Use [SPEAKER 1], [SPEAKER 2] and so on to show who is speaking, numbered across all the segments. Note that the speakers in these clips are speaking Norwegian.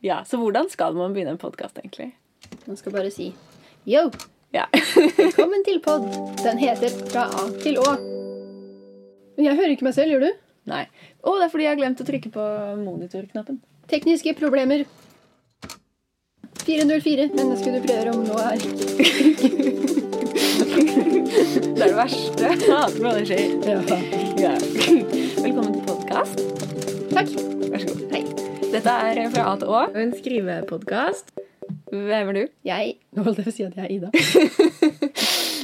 [SPEAKER 1] Ja, Så hvordan skal man begynne en podkast, egentlig?
[SPEAKER 2] Man skal bare si yo,
[SPEAKER 1] Ja.
[SPEAKER 2] velkommen til pod. Den heter Fra A til Å. Men jeg hører ikke meg selv, gjør du?
[SPEAKER 1] Nei. Å, det er fordi jeg har glemt å trykke på monitorknappen.
[SPEAKER 2] Tekniske problemer. 404. Mennesket du prøver om nå, er
[SPEAKER 1] Det er det verste. Jeg hater når det skjer. Ja. Velkommen til podkast.
[SPEAKER 2] Takk.
[SPEAKER 1] Vær så god.
[SPEAKER 2] Hei.
[SPEAKER 1] Dette er fra A til Å.
[SPEAKER 3] En skrivepodkast.
[SPEAKER 1] Hvem er du?
[SPEAKER 2] Jeg
[SPEAKER 3] Nå holdt jeg på å si at jeg er Ida.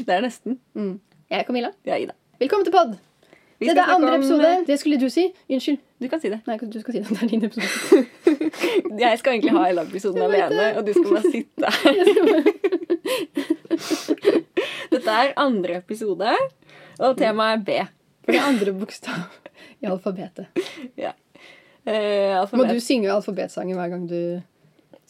[SPEAKER 1] Det er nesten.
[SPEAKER 2] mm, Jeg er Camilla.
[SPEAKER 1] Det er Ida.
[SPEAKER 2] Velkommen til pod.
[SPEAKER 1] Vi skal
[SPEAKER 2] Dette er
[SPEAKER 1] snakke
[SPEAKER 2] andre
[SPEAKER 1] om- eh,
[SPEAKER 2] episode. Det skulle du si. Unnskyld.
[SPEAKER 1] Du kan si det.
[SPEAKER 2] Nei, du skal si det. Det er din episode.
[SPEAKER 1] Jeg skal egentlig ha hele episoden
[SPEAKER 2] Jeg vet
[SPEAKER 1] alene, og du skal bare sitte her. Dette er andre episode, og temaet er B.
[SPEAKER 2] For det er andre bokstav i alfabetet.
[SPEAKER 1] Eh,
[SPEAKER 2] Må
[SPEAKER 1] alfabet.
[SPEAKER 2] du synge alfabetsangen hver gang du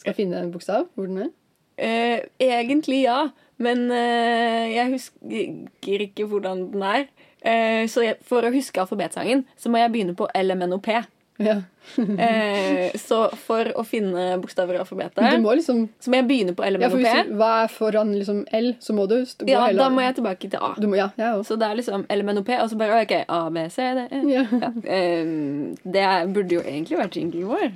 [SPEAKER 2] skal finne en bokstav? Hvor den er?
[SPEAKER 1] Eh, egentlig ja, men eh, jeg husker ikke hvordan den er. Eh, så jeg, for å huske alfabetsangen, så må jeg begynne på LMNOP.
[SPEAKER 2] Ja.
[SPEAKER 1] Eh, så for å finne bokstaver i
[SPEAKER 2] Du
[SPEAKER 1] alfabetet,
[SPEAKER 2] må liksom
[SPEAKER 1] så må jeg begynne på
[SPEAKER 2] ja, for
[SPEAKER 1] LMNOP.
[SPEAKER 2] hvis du, Hva er foran liksom L, så må du st- gå
[SPEAKER 1] Ja,
[SPEAKER 2] hele
[SPEAKER 1] da må jeg tilbake til A.
[SPEAKER 2] du må, Ja, jeg òg.
[SPEAKER 1] Så det er liksom LMNOP, og så bare OK, A, B, C, D, E.
[SPEAKER 2] Ja.
[SPEAKER 1] Ja, eh, det er- burde jo egentlig vært jinglen vår.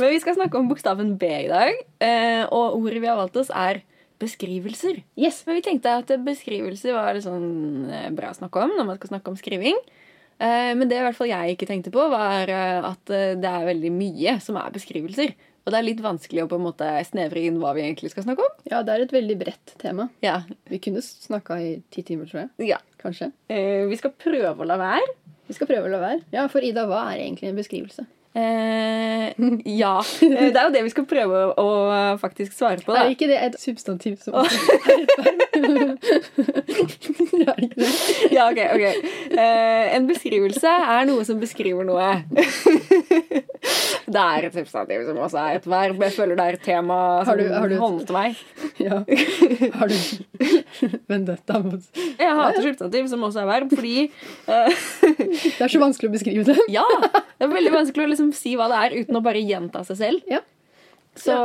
[SPEAKER 1] Men vi skal snakke om bokstaven B i dag, eh, og ordet vi har valgt oss er beskrivelser.
[SPEAKER 2] Yes.
[SPEAKER 1] Men vi tenkte at beskrivelser var litt sånn eh, bra å snakke om når man skal snakke om skriving. Eh, Men det i hvert fall jeg ikke tenkte på, var eh, at eh, det er veldig mye som er beskrivelser. Og det er litt vanskelig å på en måte snevre inn hva vi egentlig skal snakke om.
[SPEAKER 2] Ja, det er et veldig bredt tema.
[SPEAKER 1] Ja,
[SPEAKER 2] Vi kunne snakka i ti timer, tror jeg.
[SPEAKER 1] ja.
[SPEAKER 2] Kanskje.
[SPEAKER 1] Eh, Vi skal prøve å la være.
[SPEAKER 2] Vi skal prøve å la være. Ja, for Ida, hva er egentlig en beskrivelse?
[SPEAKER 1] Eh, ja. Eh, Det er jo det vi skal prøve å, å faktisk svare på. Da.
[SPEAKER 2] Er ikke det et substantiv som Er det ikke det?
[SPEAKER 1] Ja, ok, ok. Eh, en beskrivelse er noe som beskriver noe. Det er et substantiv som også er et verb. Jeg føler det er et tema som
[SPEAKER 2] Har du- har du et-
[SPEAKER 1] håndter meg.
[SPEAKER 2] Ja. Har du vendetta mot
[SPEAKER 1] Jeg hater substantiv som også er verb, fordi eh,
[SPEAKER 2] Det er så vanskelig å beskrive det.
[SPEAKER 1] Ja! Det er veldig vanskelig å liksom si hva det er uten å bare gjenta seg selv.
[SPEAKER 2] Ja.
[SPEAKER 1] Så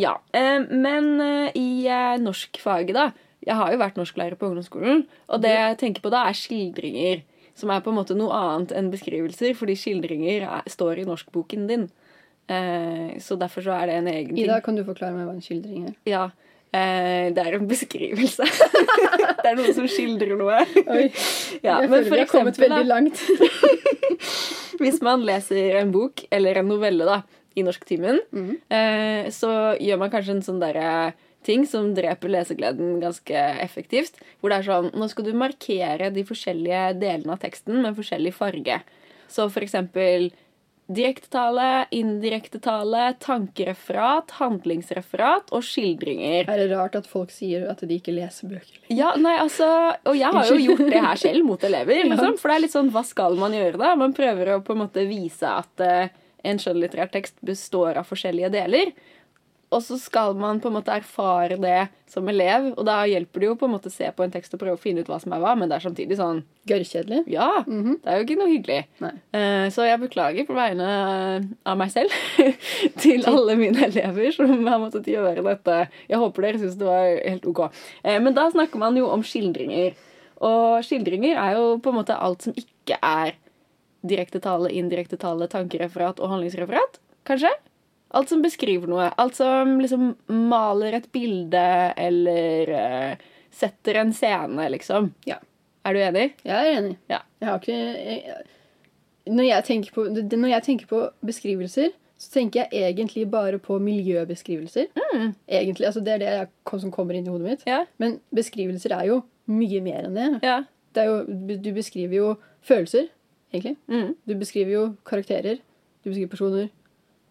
[SPEAKER 1] ja. Eh, Men eh, i eh, norskfaget, da Jeg har jo vært norsklærer på ungdomsskolen, og det jeg tenker på da, er skildringer. Som er på en måte noe annet enn beskrivelser, fordi skildringer er, står i norskboken din. Eh, Så derfor så er det en egen ting.
[SPEAKER 2] Ida, kan du forklare meg hva en skildring er?
[SPEAKER 1] Ja. Eh, Det er en beskrivelse. det er noen som skildrer noe.
[SPEAKER 2] Oi,
[SPEAKER 1] Ja,
[SPEAKER 2] jeg
[SPEAKER 1] men
[SPEAKER 2] føler
[SPEAKER 1] for
[SPEAKER 2] vi har kommet
[SPEAKER 1] eksempel, da,
[SPEAKER 2] veldig langt.
[SPEAKER 1] Hvis man leser en bok eller en novelle da, i norsktimen,
[SPEAKER 2] Mhm.
[SPEAKER 1] eh, så gjør man kanskje en sånn derre ting som dreper lesegleden ganske effektivt. Hvor det er sånn Nå skal du markere de forskjellige delene av teksten med forskjellig farge. Så for eksempel direktetale, indirektetale, tankereferat, handlingsreferat og skildringer.
[SPEAKER 2] Er det rart at folk sier at de ikke leser bøker?
[SPEAKER 1] Ja, nei, altså, Og jeg har jo
[SPEAKER 2] Unnskyld.
[SPEAKER 1] gjort det her selv mot elever. Liksom, for det er litt sånn, hva skal man gjøre da? Man prøver å på en måte vise at eh, en skjønnlitterær tekst består av forskjellige deler. Og så skal man på en måte erfare det som elev, og da hjelper det jo på en måte å se på en tekst og prøve å finne ut hva som er hva, men det er samtidig sånn
[SPEAKER 2] Gørrkjedelig? Mhm.
[SPEAKER 1] Ja, det er jo ikke noe hyggelig.
[SPEAKER 2] Nei.
[SPEAKER 1] Eh, Så jeg beklager på vegne av meg selv til alle mine elever som har måttet gjøre dette. Jeg håper dere syns det var helt ok. Eh, Men da snakker man jo om skildringer. Og skildringer er jo på en måte alt som ikke er direkte tale, indirekte tale, tankereferat og handlingsreferat, kanskje? Alt som beskriver noe. Alt som liksom maler et bilde eller eh, setter en scene, liksom.
[SPEAKER 2] Ja.
[SPEAKER 1] Er du enig?
[SPEAKER 2] Jeg er enig.
[SPEAKER 1] Ja.
[SPEAKER 2] Jeg har ikke jeg, når, jeg tenker på, det- når jeg tenker på beskrivelser, så tenker jeg egentlig bare på miljøbeskrivelser. Egentlig, altså Det er det jeg, kom- som kommer inn i hodet mitt.
[SPEAKER 1] Ja.
[SPEAKER 2] Men beskrivelser er jo mye mer enn det.
[SPEAKER 1] Ja.
[SPEAKER 2] det er jo, du beskriver jo følelser, egentlig.
[SPEAKER 1] Mm.
[SPEAKER 2] Du beskriver jo karakterer, du beskriver personer.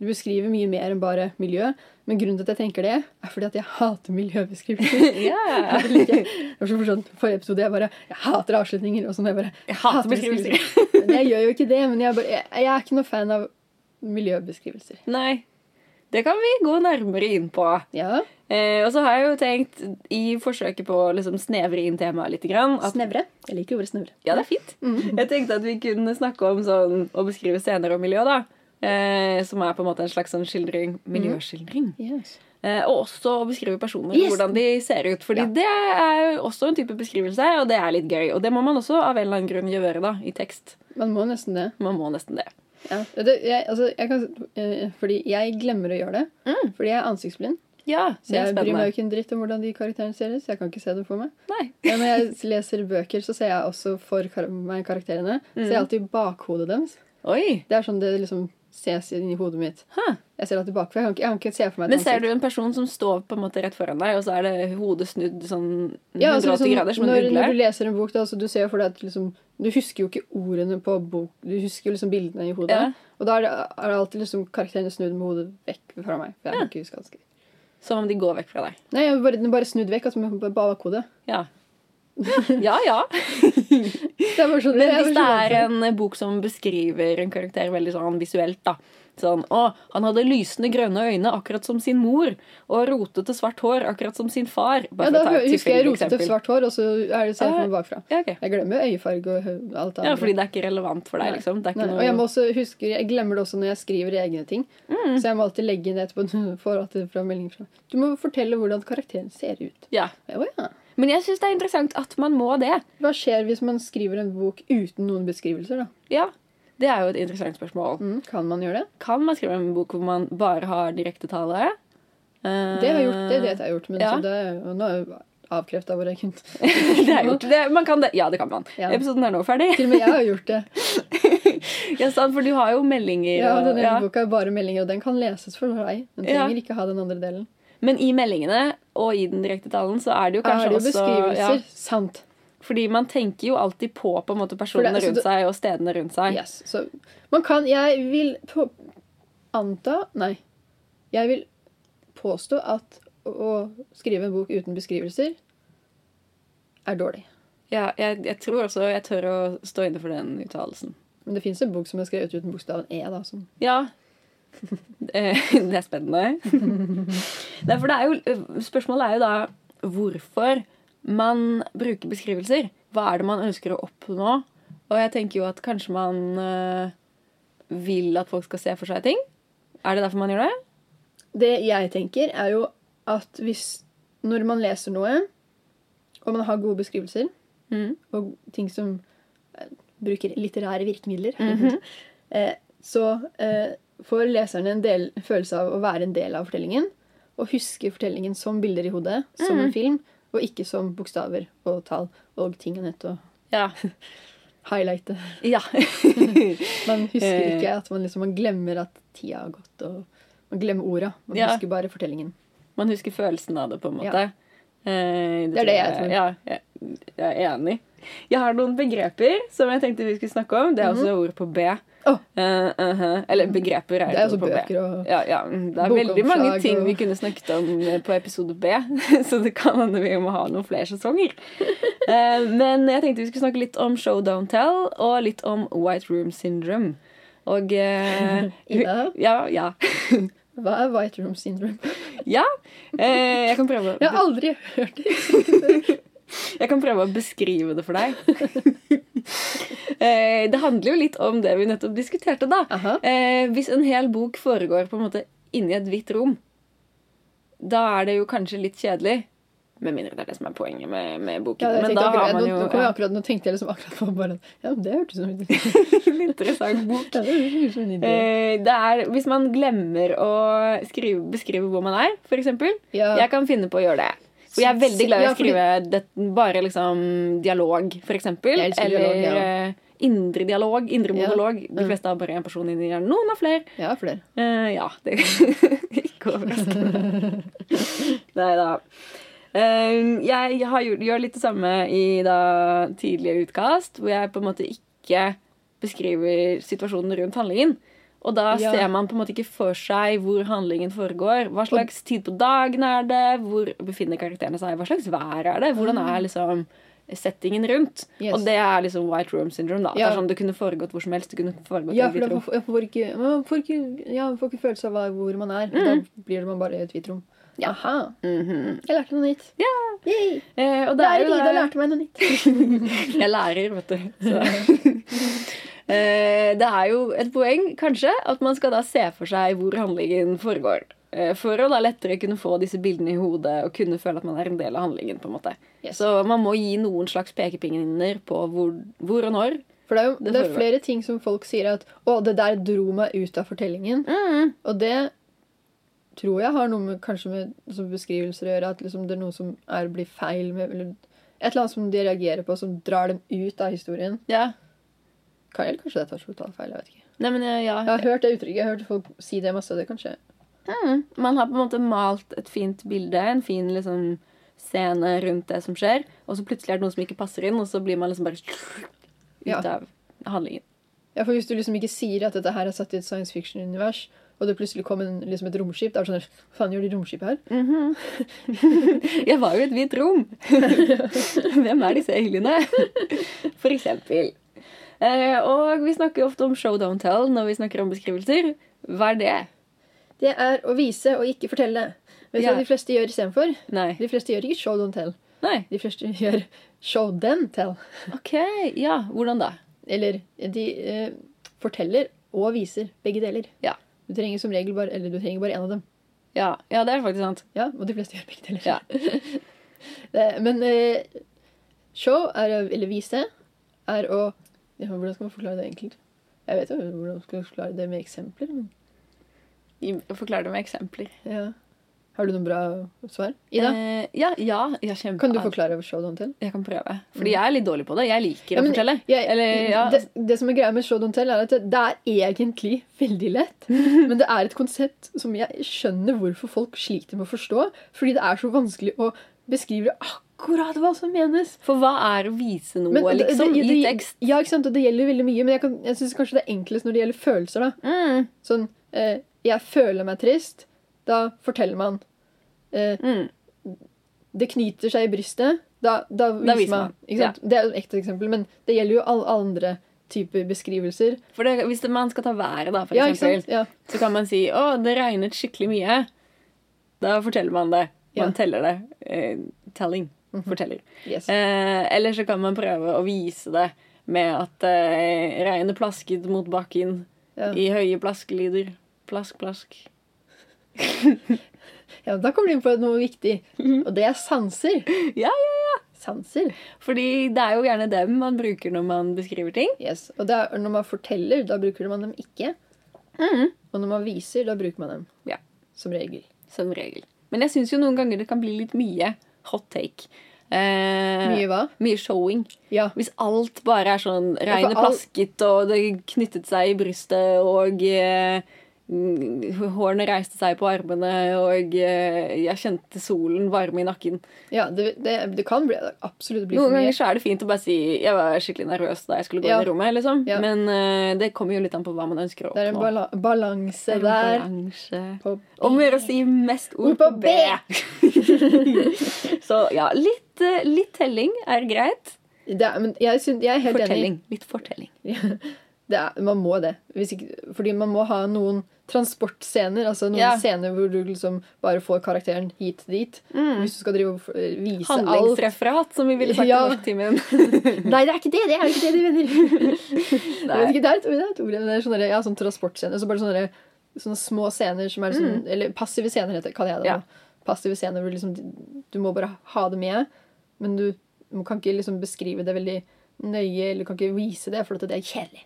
[SPEAKER 2] Du beskriver mye mer enn bare miljø. Men grunnen til at jeg tenker det, er fordi at jeg hater miljøbeskrivelser.
[SPEAKER 1] Yeah.
[SPEAKER 2] Jeg liker- det var så morsomt. Forrige episode jeg bare Jeg hater avslutninger. Og sånn jeg bare
[SPEAKER 1] Jeg hater beskrivelser.
[SPEAKER 2] Jeg gjør jo ikke det, men jeg, bare, jeg, jeg er ikke noe fan av miljøbeskrivelser.
[SPEAKER 1] Nei. Det kan vi gå nærmere inn på.
[SPEAKER 2] Ja.
[SPEAKER 1] Eh, og så har jeg jo tenkt, i forsøket på å liksom snevre inn temaet litt, grann, at
[SPEAKER 2] Snevre. Jeg liker ordet snevre.
[SPEAKER 1] Ja, det er fint.
[SPEAKER 2] Mm.
[SPEAKER 1] Jeg tenkte at vi kunne snakke om sånn, å beskrive scener og miljø, da. Eh, som er på en måte en slags sånn skildring.
[SPEAKER 2] Mm.
[SPEAKER 1] Miljøskildring.
[SPEAKER 2] Yes.
[SPEAKER 1] Eh, og også å beskrive personer
[SPEAKER 2] Yes!
[SPEAKER 1] og hvordan de ser ut. Fordi
[SPEAKER 2] Ja.
[SPEAKER 1] det er jo også en type beskrivelse, og det er litt gøy. Og det må man også av en eller annen grunn gjøre da, i tekst.
[SPEAKER 2] Man må nesten det.
[SPEAKER 1] Man må nesten det.
[SPEAKER 2] Ja. Det, jeg, altså, jeg kan, eh, fordi jeg glemmer å gjøre det. Fordi jeg er ansiktsblind.
[SPEAKER 1] Ja,
[SPEAKER 2] Så jeg bryr meg jo ikke en dritt om hvordan de karakterene ser ut. Så jeg kan ikke se dem for meg.
[SPEAKER 1] Nei.
[SPEAKER 2] Ja, når jeg leser bøker, så ser jeg også for kar meg karakterene. Så
[SPEAKER 1] Mm.
[SPEAKER 2] ser jeg alltid bakhodet deres.
[SPEAKER 1] Oi.
[SPEAKER 2] Det er sånn det liksom ses inni hodet mitt.
[SPEAKER 1] Hæ.
[SPEAKER 2] Jeg ser alltid bakfra. Jeg kan ikke, jeg kan ikke se for meg
[SPEAKER 1] Men ser du en person som står på en måte rett foran deg, og så er det hodet snudd sånn 180
[SPEAKER 2] ja, altså, liksom,
[SPEAKER 1] grader som en
[SPEAKER 2] når,
[SPEAKER 1] ugle?
[SPEAKER 2] når du leser en bok, da, så du ser jo for deg at liksom, du husker jo ikke ordene på bok, du husker jo liksom bildene i hodet.
[SPEAKER 1] Ja.
[SPEAKER 2] Og da er det, er det alltid liksom karakterene snudd med hodet vekk fra meg. For jeg kan ikke huske hva han skriver.
[SPEAKER 1] Som om de går vekk fra deg.
[SPEAKER 2] Nei, jeg bare, den er bare snudd vekk, altså med bakhodet.
[SPEAKER 1] Ja. Ja, ja.
[SPEAKER 2] Det er bare sånn,
[SPEAKER 1] Men
[SPEAKER 2] jeg er
[SPEAKER 1] hvis det
[SPEAKER 2] bare
[SPEAKER 1] er
[SPEAKER 2] sånn-
[SPEAKER 1] en eh, bok som beskriver en karakter veldig sånn visuelt, da. Sånn, å, han hadde lysende grønne øyne, akkurat som sin mor, og rotete svart hår, akkurat som sin far.
[SPEAKER 2] ja,
[SPEAKER 1] Bare
[SPEAKER 2] da
[SPEAKER 1] for å ta et
[SPEAKER 2] husker jeg
[SPEAKER 1] tilfeldig
[SPEAKER 2] rotete
[SPEAKER 1] eksempel.
[SPEAKER 2] svart hår, og så er det ser jeg for meg bakfra.
[SPEAKER 1] Ja, ok.
[SPEAKER 2] Jeg glemmer øyefarge og hø- alt annet.
[SPEAKER 1] ja, fordi det er ikke relevant for deg,
[SPEAKER 2] Nei.
[SPEAKER 1] liksom. Det er
[SPEAKER 2] Nei,
[SPEAKER 1] ikke
[SPEAKER 2] Og jeg, må
[SPEAKER 1] noe...
[SPEAKER 2] også huske, jeg glemmer det også når jeg skriver egne ting.
[SPEAKER 1] Mm.
[SPEAKER 2] Så jeg må alltid legge inn det etterpå. For at det fra meldingen fra. Du må fortelle hvordan karakteren ser ut.
[SPEAKER 1] ja.
[SPEAKER 2] Jeg, Å ja.
[SPEAKER 1] Men jeg syns det er interessant at man må det.
[SPEAKER 2] Hva skjer hvis man skriver en bok uten noen beskrivelser? da?
[SPEAKER 1] Ja. Det er jo et interessant spørsmål.
[SPEAKER 2] Mm, kan man gjøre det?
[SPEAKER 1] Kan man skrive en bok hvor man bare har direktetale? Uh,
[SPEAKER 2] Det har jeg gjort, det vet jeg har gjort, men
[SPEAKER 1] Eh, ja.
[SPEAKER 2] så det, og nå er jeg avkrefta hvor jeg kunne.
[SPEAKER 1] Eh, det er gjort. Det, man kan det. Ja, det kan man.
[SPEAKER 2] Ja.
[SPEAKER 1] Episoden er nå ferdig.
[SPEAKER 2] Til og med jeg har gjort det.
[SPEAKER 1] Ja, sant, for du har jo meldinger.
[SPEAKER 2] Ja,
[SPEAKER 1] og-
[SPEAKER 2] Denne
[SPEAKER 1] ja.
[SPEAKER 2] boka er bare meldinger, og den kan leses for deg. Den
[SPEAKER 1] Ja.
[SPEAKER 2] trenger ikke ha den andre delen.
[SPEAKER 1] Men i meldingene og i den direkte talen så er det jo
[SPEAKER 2] Er
[SPEAKER 1] kanskje
[SPEAKER 2] det jo
[SPEAKER 1] også
[SPEAKER 2] beskrivelser?
[SPEAKER 1] ja,
[SPEAKER 2] Sant.
[SPEAKER 1] Fordi man tenker jo alltid på på en måte
[SPEAKER 2] For
[SPEAKER 1] personene
[SPEAKER 2] det- så
[SPEAKER 1] rundt
[SPEAKER 2] du-
[SPEAKER 1] seg og stedene rundt seg.
[SPEAKER 2] Yes. Så man kan Jeg vil på, anta Nei. Jeg vil påstå at å, å skrive en bok uten beskrivelser er dårlig.
[SPEAKER 1] Ja, jeg, jeg tror også jeg tør å stå inne for den uttalelsen.
[SPEAKER 2] Men det fins en bok som er skrevet uten bokstaven E. da, som
[SPEAKER 1] Ja. Eh, Det er spennende. Nei, for det er jo, eh, spørsmålet er jo da hvorfor man bruker beskrivelser. Hva er det man ønsker å oppnå? Og jeg tenker jo at kanskje man eh, vil at folk skal se for seg ting. Er det derfor man gjør det?
[SPEAKER 2] Det jeg tenker, er jo at hvis Når man leser noe, og man har gode beskrivelser,
[SPEAKER 1] Mhm.
[SPEAKER 2] og ting som eh, bruker litterære virkemidler,
[SPEAKER 1] Mhm.
[SPEAKER 2] eh, så eh, får leserne en del følelse av å være en del av fortellingen. Og huske fortellingen som bilder i hodet, som
[SPEAKER 1] Mhm.
[SPEAKER 2] en film, og ikke som bokstaver og tall og ting og nett og
[SPEAKER 1] Ja.
[SPEAKER 2] highlighte.
[SPEAKER 1] Ja.
[SPEAKER 2] Man husker
[SPEAKER 1] Eh.
[SPEAKER 2] ikke at man liksom man glemmer at tida har gått, og man glemmer orda. Man
[SPEAKER 1] Ja.
[SPEAKER 2] husker bare fortellingen.
[SPEAKER 1] Man husker følelsen av det, på en måte. Eh,
[SPEAKER 2] Det er det jeg
[SPEAKER 1] tror
[SPEAKER 2] tror.
[SPEAKER 1] Ja, jeg, jeg er enig. Jeg har noen begreper som jeg tenkte vi skulle snakke om. Det er også ord på B.
[SPEAKER 2] Mhm. Åh.
[SPEAKER 1] Eh, uh-huh. Eller begreper er et
[SPEAKER 2] Det er jo
[SPEAKER 1] ord
[SPEAKER 2] så
[SPEAKER 1] på B.
[SPEAKER 2] bøker og
[SPEAKER 1] Ja, ja. mm, Det er
[SPEAKER 2] Bokomslag
[SPEAKER 1] veldig mange ting
[SPEAKER 2] og-
[SPEAKER 1] vi kunne snakket om eh, på episode B, så det kan hende vi må ha noen flere sesonger. Eh, Men jeg tenkte vi skulle snakke litt om Show Don't Tell og litt om White Room Syndrome. Og eh,
[SPEAKER 2] Ida?
[SPEAKER 1] Ja, ja.
[SPEAKER 2] Hva er White Room Syndrome?
[SPEAKER 1] ja. Eh, jeg kan prøve.
[SPEAKER 2] Jeg har aldri hørt det.
[SPEAKER 1] Jeg kan prøve å beskrive det for deg. Eh, det handler jo litt om det vi nettopp diskuterte, da.
[SPEAKER 2] Aha.
[SPEAKER 1] Eh, Hvis en hel bok foregår på en måte inni et hvitt rom, da er det jo kanskje litt kjedelig. Med mindre det er det som er poenget med, med boken.
[SPEAKER 2] Ja, jeg
[SPEAKER 1] Men
[SPEAKER 2] tenkte
[SPEAKER 1] da
[SPEAKER 2] akkurat,
[SPEAKER 1] har man
[SPEAKER 2] nå,
[SPEAKER 1] jo
[SPEAKER 2] nå, kom jeg akkurat, nå tenkte jeg liksom akkurat på bare at Ja, det hørtes ut som en idé.
[SPEAKER 1] en interessant bok.
[SPEAKER 2] Ja, det hørtes ut som en idé.
[SPEAKER 1] Eh, Det er, hvis man glemmer å skrive, beskrive hvor man er, for eksempel.
[SPEAKER 2] Ja.
[SPEAKER 1] Jeg kan finne på å gjøre det. For jeg er veldig glad i
[SPEAKER 2] Ja,
[SPEAKER 1] å
[SPEAKER 2] fordi-
[SPEAKER 1] skrive det, bare liksom dialog, for eksempel.
[SPEAKER 2] Jeg elsker
[SPEAKER 1] Eller
[SPEAKER 2] dialog, jeg
[SPEAKER 1] eh, indre dialog, indre
[SPEAKER 2] Ja.
[SPEAKER 1] monolog. De fleste har bare én person inni hjernen. Noen har flere.
[SPEAKER 2] Ja, flere.
[SPEAKER 1] Eh, ja. Det er ikke overraskende. Nei da. Eh, jeg har, gjort- gjør litt det samme i da, tidligere utkast, hvor jeg på en måte ikke beskriver situasjonen rundt handlingen. Og da
[SPEAKER 2] Ja.
[SPEAKER 1] ser man på en måte ikke for seg hvor handlingen foregår. Hva slags tid på dagen er det? Hvor befinner karakterene seg? Hva slags vær er det? Hvordan er liksom settingen rundt.
[SPEAKER 2] Ah. Yes.
[SPEAKER 1] Og det er liksom white room syndrome. da.
[SPEAKER 2] Ja.
[SPEAKER 1] Det er sånn det kunne foregår hvor som helst. Det kunne foregått
[SPEAKER 2] Ja,
[SPEAKER 1] i
[SPEAKER 2] for
[SPEAKER 1] et
[SPEAKER 2] da
[SPEAKER 1] hvitt rom.
[SPEAKER 2] får, ja, får ikke, man får ikke, ja, man får ikke følelse av hva- hvor man er.
[SPEAKER 1] Mm.
[SPEAKER 2] Da blir man bare i et hvitt rom. Aha,
[SPEAKER 1] Mhm.
[SPEAKER 2] jeg lærte noe nytt. Yay!
[SPEAKER 1] eh, og det
[SPEAKER 2] Da
[SPEAKER 1] er
[SPEAKER 2] er det
[SPEAKER 1] jo
[SPEAKER 2] Ida
[SPEAKER 1] det
[SPEAKER 2] lærte meg noe nytt.
[SPEAKER 1] Jeg lærer, vet du. Så. Eh, det er jo et poeng, kanskje, at man skal da se for seg hvor handlingen foregår. Eh, For å da lettere kunne få disse bildene i hodet og kunne føle at man er en del av handlingen. på en måte.
[SPEAKER 2] Yes.
[SPEAKER 1] Så man må gi noen slags pekepinner på hvor, hvor og når.
[SPEAKER 2] For det er jo det er
[SPEAKER 1] foregår.
[SPEAKER 2] flere ting som folk sier at å, det der dro meg ut av fortellingen.
[SPEAKER 1] Mm.
[SPEAKER 2] Og det tror jeg har noe med, kanskje med altså beskrivelser å gjøre. At liksom det er noe som er, blir feil med eller Et eller annet som de reagerer på, som drar dem ut av historien.
[SPEAKER 1] Ja.
[SPEAKER 2] Kan- Eller kanskje det tar totalt feil. Jeg vet ikke.
[SPEAKER 1] Nei, men eh, ja.
[SPEAKER 2] Jeg har hørt det uttrykket. Jeg har hørt folk si det masse. og Det kanskje
[SPEAKER 1] Mm. Man har på en måte malt et fint bilde, en fin liksom, scene rundt det som skjer, og så plutselig er det noe som ikke passer inn, og så blir man liksom bare
[SPEAKER 2] Ja.
[SPEAKER 1] ut av handlingen.
[SPEAKER 2] Ja, for Hvis du liksom ikke sier at dette her er satt i et science fiction-univers, og det plutselig kom en, liksom et romskip da er det sånn, Hva faen gjør de romskipet her?
[SPEAKER 1] Mhm. Jeg var jo i et hvitt rom. Hvem er disse aliene? For eksempel. Eh, og vi snakker jo ofte om show don't tell når vi snakker om beskrivelser. Hva er det?
[SPEAKER 2] Det er å vise og ikke fortelle. Vet du
[SPEAKER 1] Ja.
[SPEAKER 2] hva de fleste gjør istedenfor?
[SPEAKER 1] Nei.
[SPEAKER 2] De fleste gjør ikke show don't tell.
[SPEAKER 1] Nei.
[SPEAKER 2] De fleste gjør show then tell.
[SPEAKER 1] Ok, ja. Hvordan da?
[SPEAKER 2] Eller de eh, forteller og viser begge deler.
[SPEAKER 1] Ja.
[SPEAKER 2] Du trenger som regel bare eller du trenger bare én av dem.
[SPEAKER 1] Ja, ja det er faktisk sant.
[SPEAKER 2] Ja, Og de fleste gjør begge deler.
[SPEAKER 1] Ja.
[SPEAKER 2] det, men eh, show, er, å- eller vise, er å ja, Hvordan skal man forklare det enkelt? Jeg vet jo hvordan man skal forklare det med eksempler. Men,
[SPEAKER 1] Forklar det med eksempler.
[SPEAKER 2] ja. Har du noen bra svar? Ida,
[SPEAKER 1] Eh, ja, ja, Eh, ja kjempe.
[SPEAKER 2] kan du forklare show don't tell?
[SPEAKER 1] Jeg kan prøve. Fordi jeg er litt dårlig på det. Jeg liker
[SPEAKER 2] Ja, men-
[SPEAKER 1] å fortelle.
[SPEAKER 2] Jeg,
[SPEAKER 1] Eller, ja.
[SPEAKER 2] det, det som er greia med show don't tell, er at det, det er egentlig veldig lett. Men det er et konsept som jeg skjønner hvorfor folk sliter med å forstå. Fordi det er så vanskelig å beskrive akkurat hva som menes.
[SPEAKER 1] For hva er å vise noe,
[SPEAKER 2] Men det-
[SPEAKER 1] liksom?
[SPEAKER 2] det-
[SPEAKER 1] I
[SPEAKER 2] det-
[SPEAKER 1] tekst.
[SPEAKER 2] Ja, ikke sant? Og det gjelder veldig mye. Men jeg, kan, jeg syns kanskje det er enklest når det gjelder følelser. da.
[SPEAKER 1] Mm.
[SPEAKER 2] Sånn eh, Jeg føler meg trist. Da forteller man. Eh,
[SPEAKER 1] Mm.
[SPEAKER 2] det knyter seg i brystet. Da, da viser,
[SPEAKER 1] viser
[SPEAKER 2] man.
[SPEAKER 1] man,
[SPEAKER 2] Ikke sant? Det er et ekte eksempel, men det gjelder jo alle andre typer beskrivelser.
[SPEAKER 1] For det, hvis det, man skal ta været, da, for
[SPEAKER 2] Ja, ikke sant?
[SPEAKER 1] eksempel,
[SPEAKER 2] Ja.
[SPEAKER 1] så kan man si 'Å, det regnet skikkelig mye'. Da forteller man det. Man
[SPEAKER 2] Ja. Mhm.
[SPEAKER 1] teller det. Eh, telling. Forteller.
[SPEAKER 2] Yes.
[SPEAKER 1] Eh, eller så kan man prøve å vise det med at eh, regnet plasket mot bakken
[SPEAKER 2] Ja.
[SPEAKER 1] i høye plaskelyder. Plask, plask.
[SPEAKER 2] Ja, da kommer du inn på noe viktig, og det er sanser.
[SPEAKER 1] Mhm. Ja, ja, ja.
[SPEAKER 2] Sanser.
[SPEAKER 1] Fordi det er jo gjerne dem man bruker når man beskriver ting.
[SPEAKER 2] Yes. Og det er, når man forteller, da bruker man dem ikke. Og når man viser, da bruker man dem.
[SPEAKER 1] Mhm. Ja.
[SPEAKER 2] Som regel.
[SPEAKER 1] Som regel. Men jeg syns jo noen ganger det kan bli litt mye hot take. Eh,
[SPEAKER 2] Mye hva?
[SPEAKER 1] Mye showing.
[SPEAKER 2] Ja.
[SPEAKER 1] Hvis alt bare er sånn regnet
[SPEAKER 2] all-
[SPEAKER 1] plasket, og det knyttet seg i brystet, og eh, mm, hårene reiste seg på armene, og eh, jeg kjente solen varme i nakken
[SPEAKER 2] ja det, det, det kan bli, absolutt bli
[SPEAKER 1] Noen
[SPEAKER 2] for mye.
[SPEAKER 1] ganger så er det fint å bare si jeg var skikkelig nervøs da jeg skulle gå
[SPEAKER 2] Ja.
[SPEAKER 1] inn i rommet, liksom.
[SPEAKER 2] Ja.
[SPEAKER 1] Men eh, det kommer jo litt an på hva man ønsker å
[SPEAKER 2] Det er en
[SPEAKER 1] oppnå.
[SPEAKER 2] bala balanse
[SPEAKER 1] Det er en
[SPEAKER 2] der.
[SPEAKER 1] balanse.
[SPEAKER 2] På,
[SPEAKER 1] Om å gjøre å si mest ord
[SPEAKER 2] Ord på
[SPEAKER 1] på B. så ja, litt, eh, litt telling er greit.
[SPEAKER 2] det er, men jeg, syn- jeg er helt
[SPEAKER 1] Fortelling. Litt fortelling.
[SPEAKER 2] enig. Det er, man må det. Hvis ikke, fordi man må ha noen transportscener. Altså noen
[SPEAKER 1] Ja.
[SPEAKER 2] scener hvor du liksom bare får karakteren hit dit.
[SPEAKER 1] Mm.
[SPEAKER 2] Hvis du skal drive og eh, vise alt.
[SPEAKER 1] Handlingsreferat, som vi ville sagt
[SPEAKER 2] Ja.
[SPEAKER 1] i norsktimen.
[SPEAKER 2] Nei, det er ikke det! Det er ikke det de mener. Jeg vet
[SPEAKER 1] Nei.
[SPEAKER 2] ikke, det er et ord, det er et ord men det er sånn der- ja, sånn transportscene. Så bare sånne, der- sånne små scener som er sånn Eller passive scener, heter, kaller jeg det.
[SPEAKER 1] Mm. Ja.
[SPEAKER 2] nå. Passive scener hvor liksom, du må bare ha det med, men du må- kan ikke liksom beskrive det veldig nøye, eller kan ikke vise det, for at det er kjedelig.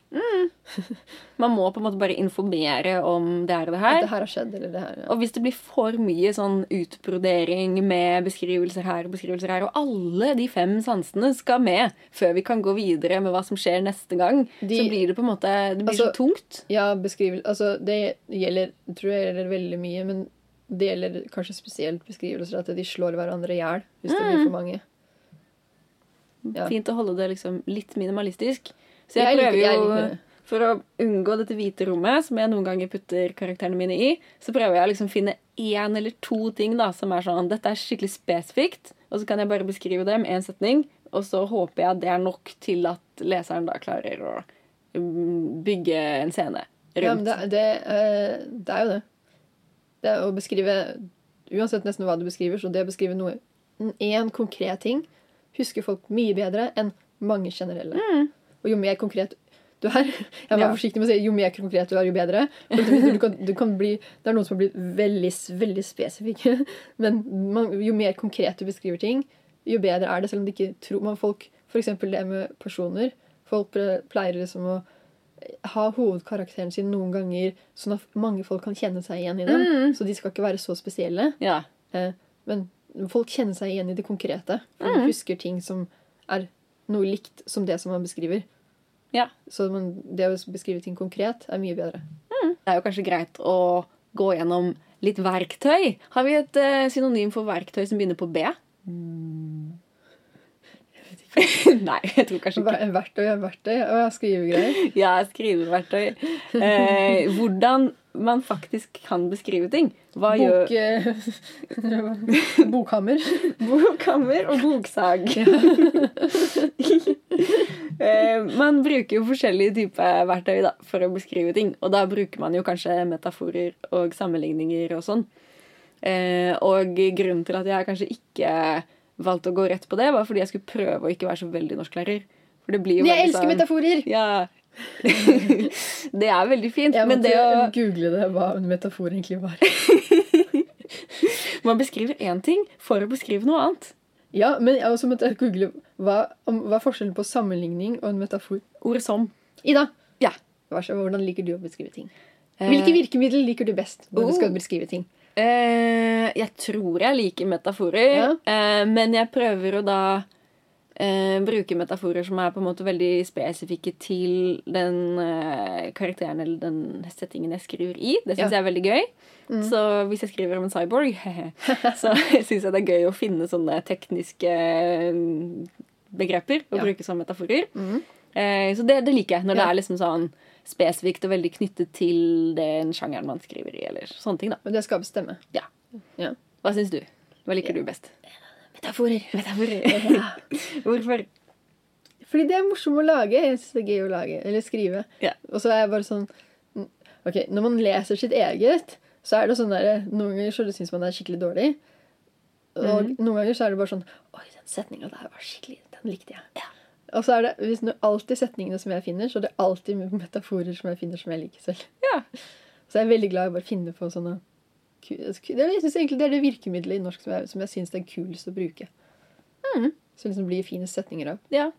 [SPEAKER 1] Man må på en måte bare informere om det her og det
[SPEAKER 2] At
[SPEAKER 1] her.
[SPEAKER 2] det her har skjedd, eller det her. Ja.
[SPEAKER 1] Og hvis det blir for mye sånn utbrodering med beskrivelser her og beskrivelser her, og alle de fem sansene skal med før vi kan gå videre med hva som skjer neste gang,
[SPEAKER 2] De-
[SPEAKER 1] så blir det på en måte Det blir
[SPEAKER 2] Altså-
[SPEAKER 1] så tungt.
[SPEAKER 2] Ja, beskrivel... Altså, det gjelder jeg tror jeg gjelder veldig mye, men det gjelder kanskje spesielt beskrivelser at de slår hverandre i hjel hvis det blir for mange. Ja.
[SPEAKER 1] Fint å holde det liksom litt minimalistisk. Så
[SPEAKER 2] Jeg
[SPEAKER 1] jeg,
[SPEAKER 2] liker-
[SPEAKER 1] prøver
[SPEAKER 2] jeg
[SPEAKER 1] jo
[SPEAKER 2] liker det.
[SPEAKER 1] For å unngå dette hvite rommet, som jeg noen ganger putter karakterene mine i, så prøver jeg å liksom finne én eller to ting da, som er sånn Dette er skikkelig spesifikt, og så kan jeg bare beskrive det med én setning. Og så håper jeg det er nok til at leseren da klarer å mm, bygge en scene
[SPEAKER 2] Ja, men
[SPEAKER 1] rundt.
[SPEAKER 2] det, det, eh, det er jo det. Det er å beskrive Uansett nesten hva du beskriver, så det å beskrive noe én konkret ting husker folk mye bedre enn mange generelle. Og jo mer konkret du er Jeg var
[SPEAKER 1] Ja.
[SPEAKER 2] forsiktig med å si jo mer konkret du er, jo bedre. For Du, du kan, du kan bli, det er noen som har blitt veldig, veldig spesifikke. Men man, jo mer konkret du beskriver ting, jo bedre er det. Selv om de ikke tror man folk For eksempel det med personer. Folk pre- pleier liksom å ha hovedkarakteren sin noen ganger, sånn at mange folk kan kjenne seg igjen i dem. Så de skal ikke være så spesielle.
[SPEAKER 1] Ja.
[SPEAKER 2] Eh, men folk kjenner seg igjen i det konkrete. For
[SPEAKER 1] Mm.
[SPEAKER 2] de husker ting som er noe likt som det som man beskriver.
[SPEAKER 1] Ja.
[SPEAKER 2] Så man, det å beskrive ting konkret er mye bedre.
[SPEAKER 1] Det er jo kanskje greit å gå gjennom litt verktøy. Har vi et eh, synonym for verktøy som begynner på B? Mm. Nei, jeg tror kanskje ikke
[SPEAKER 2] Ver- Verktøy er verktøy, og jeg skriver greier.
[SPEAKER 1] Ja, skriveverktøy. Eh, hvordan man faktisk kan beskrive ting. Hva gjør
[SPEAKER 2] Bok, eh, bokhammer.
[SPEAKER 1] Bokhammer og boksag. Eh, man bruker jo forskjellige typer verktøy da, for å beskrive ting. Og da bruker man jo kanskje metaforer og sammenligninger og sånn. Eh, og grunnen til at jeg kanskje ikke valgte å gå rett på det, var fordi jeg skulle prøve å ikke være så veldig norsklærer. For det blir jo
[SPEAKER 2] Men jeg
[SPEAKER 1] veldig sånn-
[SPEAKER 2] elsker metaforer!
[SPEAKER 1] Ja. det er veldig fint,
[SPEAKER 2] Jeg
[SPEAKER 1] men
[SPEAKER 2] måtte
[SPEAKER 1] det å
[SPEAKER 2] google det, hva en metafor egentlig var.
[SPEAKER 1] Man beskriver én ting for å beskrive noe annet.
[SPEAKER 2] Ja, men jeg også måtte google hva, om, hva er forskjellen på sammenligning og en metafor.
[SPEAKER 1] Ordet som.
[SPEAKER 2] Ida,
[SPEAKER 1] Ja. Eh.
[SPEAKER 2] vær så, hvordan liker du å beskrive ting? Hvilke virkemidler liker du best når
[SPEAKER 1] Oh.
[SPEAKER 2] du skal beskrive ting?
[SPEAKER 1] Eh, jeg tror jeg liker metaforer,
[SPEAKER 2] Ja.
[SPEAKER 1] eh, men jeg prøver å da eh, bruke metaforer som er på en måte veldig spesifikke til den eh, karakteren eller den settingen jeg skriver i. Det syns
[SPEAKER 2] Ja. Mm.
[SPEAKER 1] jeg er veldig gøy. Så hvis jeg skriver om en cyborg, så syns jeg det er gøy å finne sånne tekniske eh, begreper å
[SPEAKER 2] Ja.
[SPEAKER 1] bruke som metaforer.
[SPEAKER 2] Mhm.
[SPEAKER 1] Eh, så det, det liker jeg, når det
[SPEAKER 2] Ja.
[SPEAKER 1] er liksom sånn spesifikt og veldig knyttet til den sjangeren man skriver i, eller sånne ting, da.
[SPEAKER 2] Men det skal bestemme.
[SPEAKER 1] Hva syns du? Hva liker du best?
[SPEAKER 2] Metaforer.
[SPEAKER 1] Metaforer. Hvorfor?
[SPEAKER 2] Fordi det er morsomt å lage. Jeg synes det er gøy å lage, eller skrive.
[SPEAKER 1] Ja.
[SPEAKER 2] Og så er jeg bare sånn mm, Ok, når man leser sitt eget, så er det sånn der Noen ganger så syns man det er skikkelig dårlig. Og
[SPEAKER 1] Mhm.
[SPEAKER 2] noen ganger så er det bare sånn Oi, den setninga der var skikkelig Den likte jeg. Og så er det hvis nå alltid setningene som jeg finner, så er det alltid metaforer som jeg finner som jeg liker selv.
[SPEAKER 1] Ja.
[SPEAKER 2] Så jeg er veldig glad i å bare finne på sånne ku- altså, ku- det, er- Jeg synes egentlig det er det virkemidlet i norsk som jeg, som jeg syns det er kulest å bruke.
[SPEAKER 1] Mhm.
[SPEAKER 2] Som liksom blir fine setninger av.
[SPEAKER 1] Ja,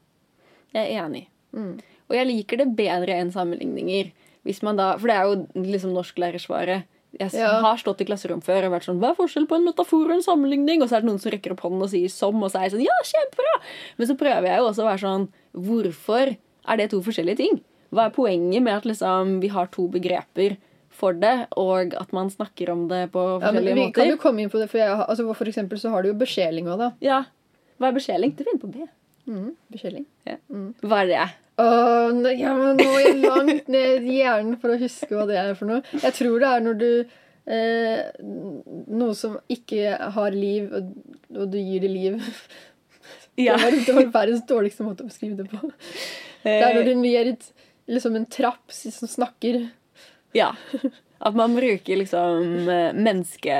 [SPEAKER 1] jeg er enig.
[SPEAKER 2] Mm.
[SPEAKER 1] Og jeg liker det bedre enn sammenligninger. Hvis man da, for det er jo liksom norsklærersvaret. Jeg s-
[SPEAKER 2] Ja.
[SPEAKER 1] har stått i klasserom før og vært sånn Hva er forskjellen på en metafor og en sammenligning? Og så er det noen som rekker opp hånden og sier som, og så er jeg sånn Ja, kjempebra! Men så prøver jeg jo også å være sånn Hvorfor er det to forskjellige ting? Hva er poenget med at liksom vi har to begreper for det, og at man snakker om det på
[SPEAKER 2] Ja, men
[SPEAKER 1] forskjellige
[SPEAKER 2] vi kan
[SPEAKER 1] måter?
[SPEAKER 2] jo komme inn på det, for, jeg, har- altså, for eksempel så har du jo beskjeling òg, da.
[SPEAKER 1] Ja. Hva er beskjeling? Det finner på B.
[SPEAKER 2] Mm, beskjeling.
[SPEAKER 1] Hva er det?
[SPEAKER 2] Åh, nå, ja, men nå er jeg langt ned i hjernen for å huske hva det er for noe. Jeg tror det er når du eh, Noe som ikke har liv, og, og du gir det liv.
[SPEAKER 1] Ja.
[SPEAKER 2] Det var, det var verdens dårligste måte å beskrive det på. Det er
[SPEAKER 1] Eh.
[SPEAKER 2] når du gir et, liksom en trapp som snakker.
[SPEAKER 1] Ja. At man bruker liksom eh,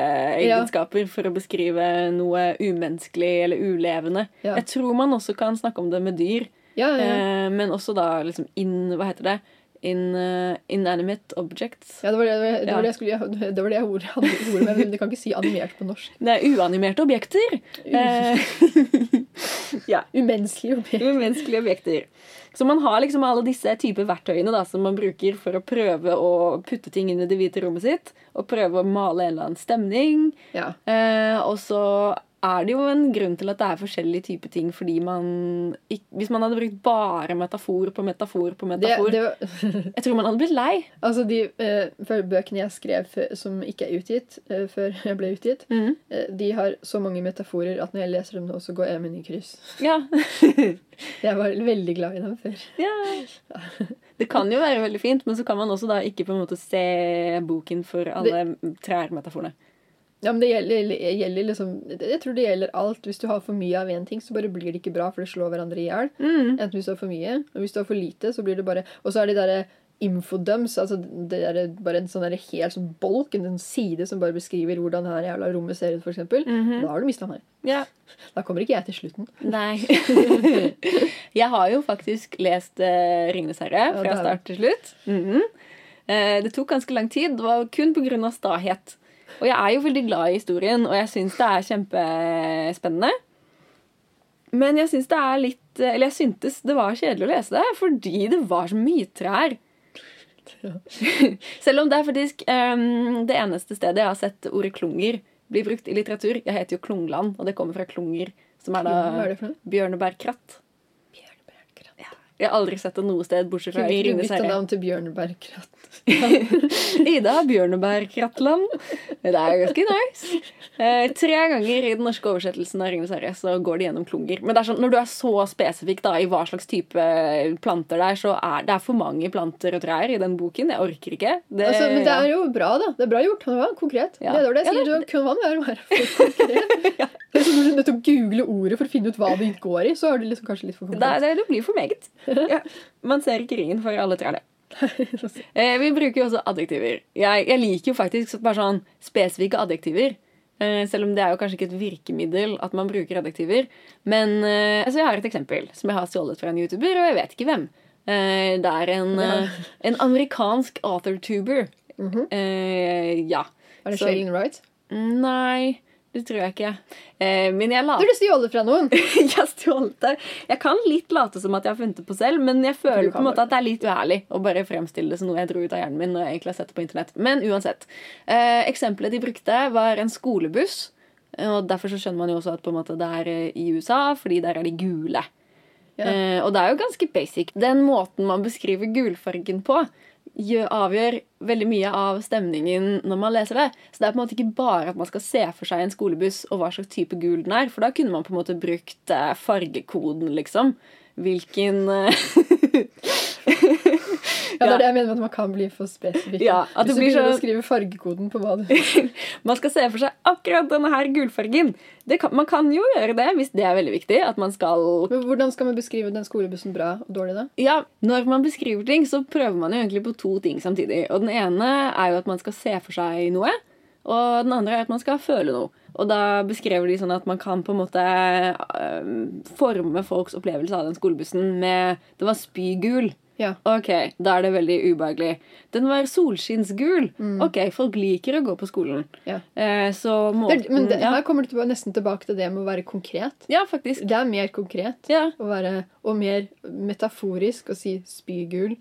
[SPEAKER 1] menneskeegenskaper for å beskrive noe umenneskelig eller ulevende.
[SPEAKER 2] Ja.
[SPEAKER 1] Jeg tror man også kan snakke om det med dyr,
[SPEAKER 2] Ja, ja, ja.
[SPEAKER 1] eh, men også da liksom in... Hva heter det? In, eh, inanimate objects.
[SPEAKER 2] Ja, det var det, det, var
[SPEAKER 1] Ja.
[SPEAKER 2] det, jeg skulle, det var det jeg ordet hadde ordet med, men du kan ikke si animert på norsk.
[SPEAKER 1] Nei, uanimerte objekter. Eh, ja.
[SPEAKER 2] Umenneskelig objekt.
[SPEAKER 1] Umenneskelige objekter. Så man har liksom alle disse typer verktøyene da, som man bruker for å prøve å putte ting inn i det hvite rommet sitt, og prøve å male en eller annen stemning.
[SPEAKER 2] Ja.
[SPEAKER 1] Eh, og så er det jo en grunn til at det er forskjellige typer ting, fordi man ikk- Hvis man hadde brukt bare metafor på metafor på
[SPEAKER 2] Det,
[SPEAKER 1] metafor
[SPEAKER 2] det var,
[SPEAKER 1] Jeg tror man hadde blitt lei.
[SPEAKER 2] altså de eh, før bøkene jeg skrev før, som ikke er utgitt, eh, før jeg ble utgitt, eh, de har så mange metaforer at når jeg leser dem nå, så går øynene i kryss.
[SPEAKER 1] Ja.
[SPEAKER 2] Jeg var veldig glad i dem før.
[SPEAKER 1] ja. Det kan jo være veldig fint, men så kan man også da ikke på en måte se boken for alle trærmetaforene.
[SPEAKER 2] Ja, men det gjelder, gjelder liksom Jeg tror det gjelder alt. Hvis du har for mye av én ting, så bare blir det ikke bra, for det slår hverandre i hjel.
[SPEAKER 1] Mm.
[SPEAKER 2] Enten hvis du har for mye, og hvis du har for lite, så blir det bare Og så er de derre infodums, altså det er bare en sånn derre helt sånn bolk, en sånn side som bare beskriver hvordan det her jævla rommet ser ut, for eksempel. Da har du mista meg.
[SPEAKER 1] Ja.
[SPEAKER 2] Da kommer ikke jeg til slutten.
[SPEAKER 1] Nei. jeg har jo faktisk lest uh, 'Ringenes herre'
[SPEAKER 2] Ja, det
[SPEAKER 1] fra
[SPEAKER 2] har du.
[SPEAKER 1] start til slutt. Mhm. Eh, det tok ganske lang tid. Det var kun pga. stahet. Og jeg er jo veldig glad i historien, og jeg syns det er kjempespennende. Men jeg syns det er litt eh, Eller jeg syntes det var kjedelig å lese det fordi det var så mye trær. Selv om det er faktisk ehm, det eneste stedet jeg har sett ordet klunger bli brukt i litteratur. Jeg heter jo Klungland, og det kommer fra klunger, som er da
[SPEAKER 2] Hva er det for noe?
[SPEAKER 1] Bjørnebærkratt.
[SPEAKER 2] Bjørnebærkratt.
[SPEAKER 1] Jeg har aldri sett det noe sted bortsett fra
[SPEAKER 2] Kunne
[SPEAKER 1] i
[SPEAKER 2] ikke du
[SPEAKER 1] Ringenes
[SPEAKER 2] bytta
[SPEAKER 1] herre.
[SPEAKER 2] navn til Bjørnebærkratt?
[SPEAKER 1] Ida Bjørnebærkrattland. Det er ganske nice. Eh, tre ganger i den norske oversettelsen av Ringenes herre så går det gjennom klunger. Men det er sånn, når du er så spesifikk da, i hva slags type planter det er, så er det er for mange planter og trær i den boken. Jeg orker ikke. Det,
[SPEAKER 2] Altså, men det
[SPEAKER 1] ja.
[SPEAKER 2] er jo bra, da. Det er bra gjort. Han var konkret.
[SPEAKER 1] Ja.
[SPEAKER 2] Det er det jeg
[SPEAKER 1] Ja,
[SPEAKER 2] sier.
[SPEAKER 1] det-
[SPEAKER 2] Du kan være mer konkret. Det er sånn Når du er nødt til å google ordet for å finne ut hva det går i, så er du liksom kanskje litt for
[SPEAKER 1] det,
[SPEAKER 2] konkret.
[SPEAKER 1] er- det blir for meget. Ja. Man ser ikke ringen for alle trærne. Eh, vi bruker jo også adjektiver. Jeg, jeg liker jo faktisk så- bare sånn spesifikke adjektiver. Eh, selv om det er jo kanskje ikke et virkemiddel at man bruker adjektiver. Men eh, altså jeg har et eksempel som jeg har stjålet fra en YouTuber, og jeg vet ikke hvem. Eh, det er en,
[SPEAKER 2] Ja.
[SPEAKER 1] eh, en amerikansk authortuber.
[SPEAKER 2] Mhm.
[SPEAKER 1] eh, ja.
[SPEAKER 2] Er det
[SPEAKER 1] Så-
[SPEAKER 2] Shaylin Wright?
[SPEAKER 1] Nei, det tror jeg ikke. Eh, men jeg
[SPEAKER 2] Du
[SPEAKER 1] later
[SPEAKER 2] har lyst til å stjåle fra noen?
[SPEAKER 1] jeg har stjålet det. Jeg kan litt late som at jeg har funnet det på selv, men jeg føler
[SPEAKER 2] Du
[SPEAKER 1] på
[SPEAKER 2] kan
[SPEAKER 1] en måte at det er litt uærlig å bare fremstille det som noe jeg dro ut av hjernen min når jeg egentlig har sett det på internett. Men uansett. Eh, eksempelet de brukte, var en skolebuss. eh, Og derfor så skjønner man jo også at på en måte det er eh, i USA, fordi der er de gule.
[SPEAKER 2] Ja.
[SPEAKER 1] Eh, og det er jo ganske basic. Den måten man beskriver gulfargen på, gjør, avgjør veldig mye av stemningen når man leser det. Så det er på en måte ikke bare at man skal se for seg en skolebuss og hva slags type gul den er, for da kunne man på en måte brukt eh, fargekoden, liksom. Hvilken eh,
[SPEAKER 2] Ja, det
[SPEAKER 1] Ja.
[SPEAKER 2] er det jeg mener med at man kan bli for spesifikk.
[SPEAKER 1] Ja, at det
[SPEAKER 2] Hvis du
[SPEAKER 1] blir
[SPEAKER 2] begynner
[SPEAKER 1] så-
[SPEAKER 2] å skrive fargekoden på hva du
[SPEAKER 1] Man skal se for seg akkurat denne her gulfargen. Det kan, man kan jo gjøre det hvis det er veldig viktig. at man skal...
[SPEAKER 2] Men Hvordan skal man beskrive den skolebussen bra og dårlig, da?
[SPEAKER 1] Ja, Når man beskriver ting, så prøver man jo egentlig på to ting samtidig. Og Den ene er jo at man skal se for seg noe, og den andre er at man skal føle noe. Og da beskrever de sånn at man kan på en måte øhm, forme folks opplevelse av den skolebussen med Den var spygul.
[SPEAKER 2] Ja.
[SPEAKER 1] Ok, da er det veldig ubehagelig. Den var solskinnsgul.
[SPEAKER 2] Mm.
[SPEAKER 1] Ok, folk liker å gå på skolen.
[SPEAKER 2] Ja.
[SPEAKER 1] Eh, så
[SPEAKER 2] Det
[SPEAKER 1] måten
[SPEAKER 2] er, men det,
[SPEAKER 1] ja.
[SPEAKER 2] her kommer du tilbake, nesten tilbake til det med å være konkret.
[SPEAKER 1] ja, faktisk.
[SPEAKER 2] Det er mer konkret
[SPEAKER 1] Ja.
[SPEAKER 2] å være, og mer metaforisk å si spygul.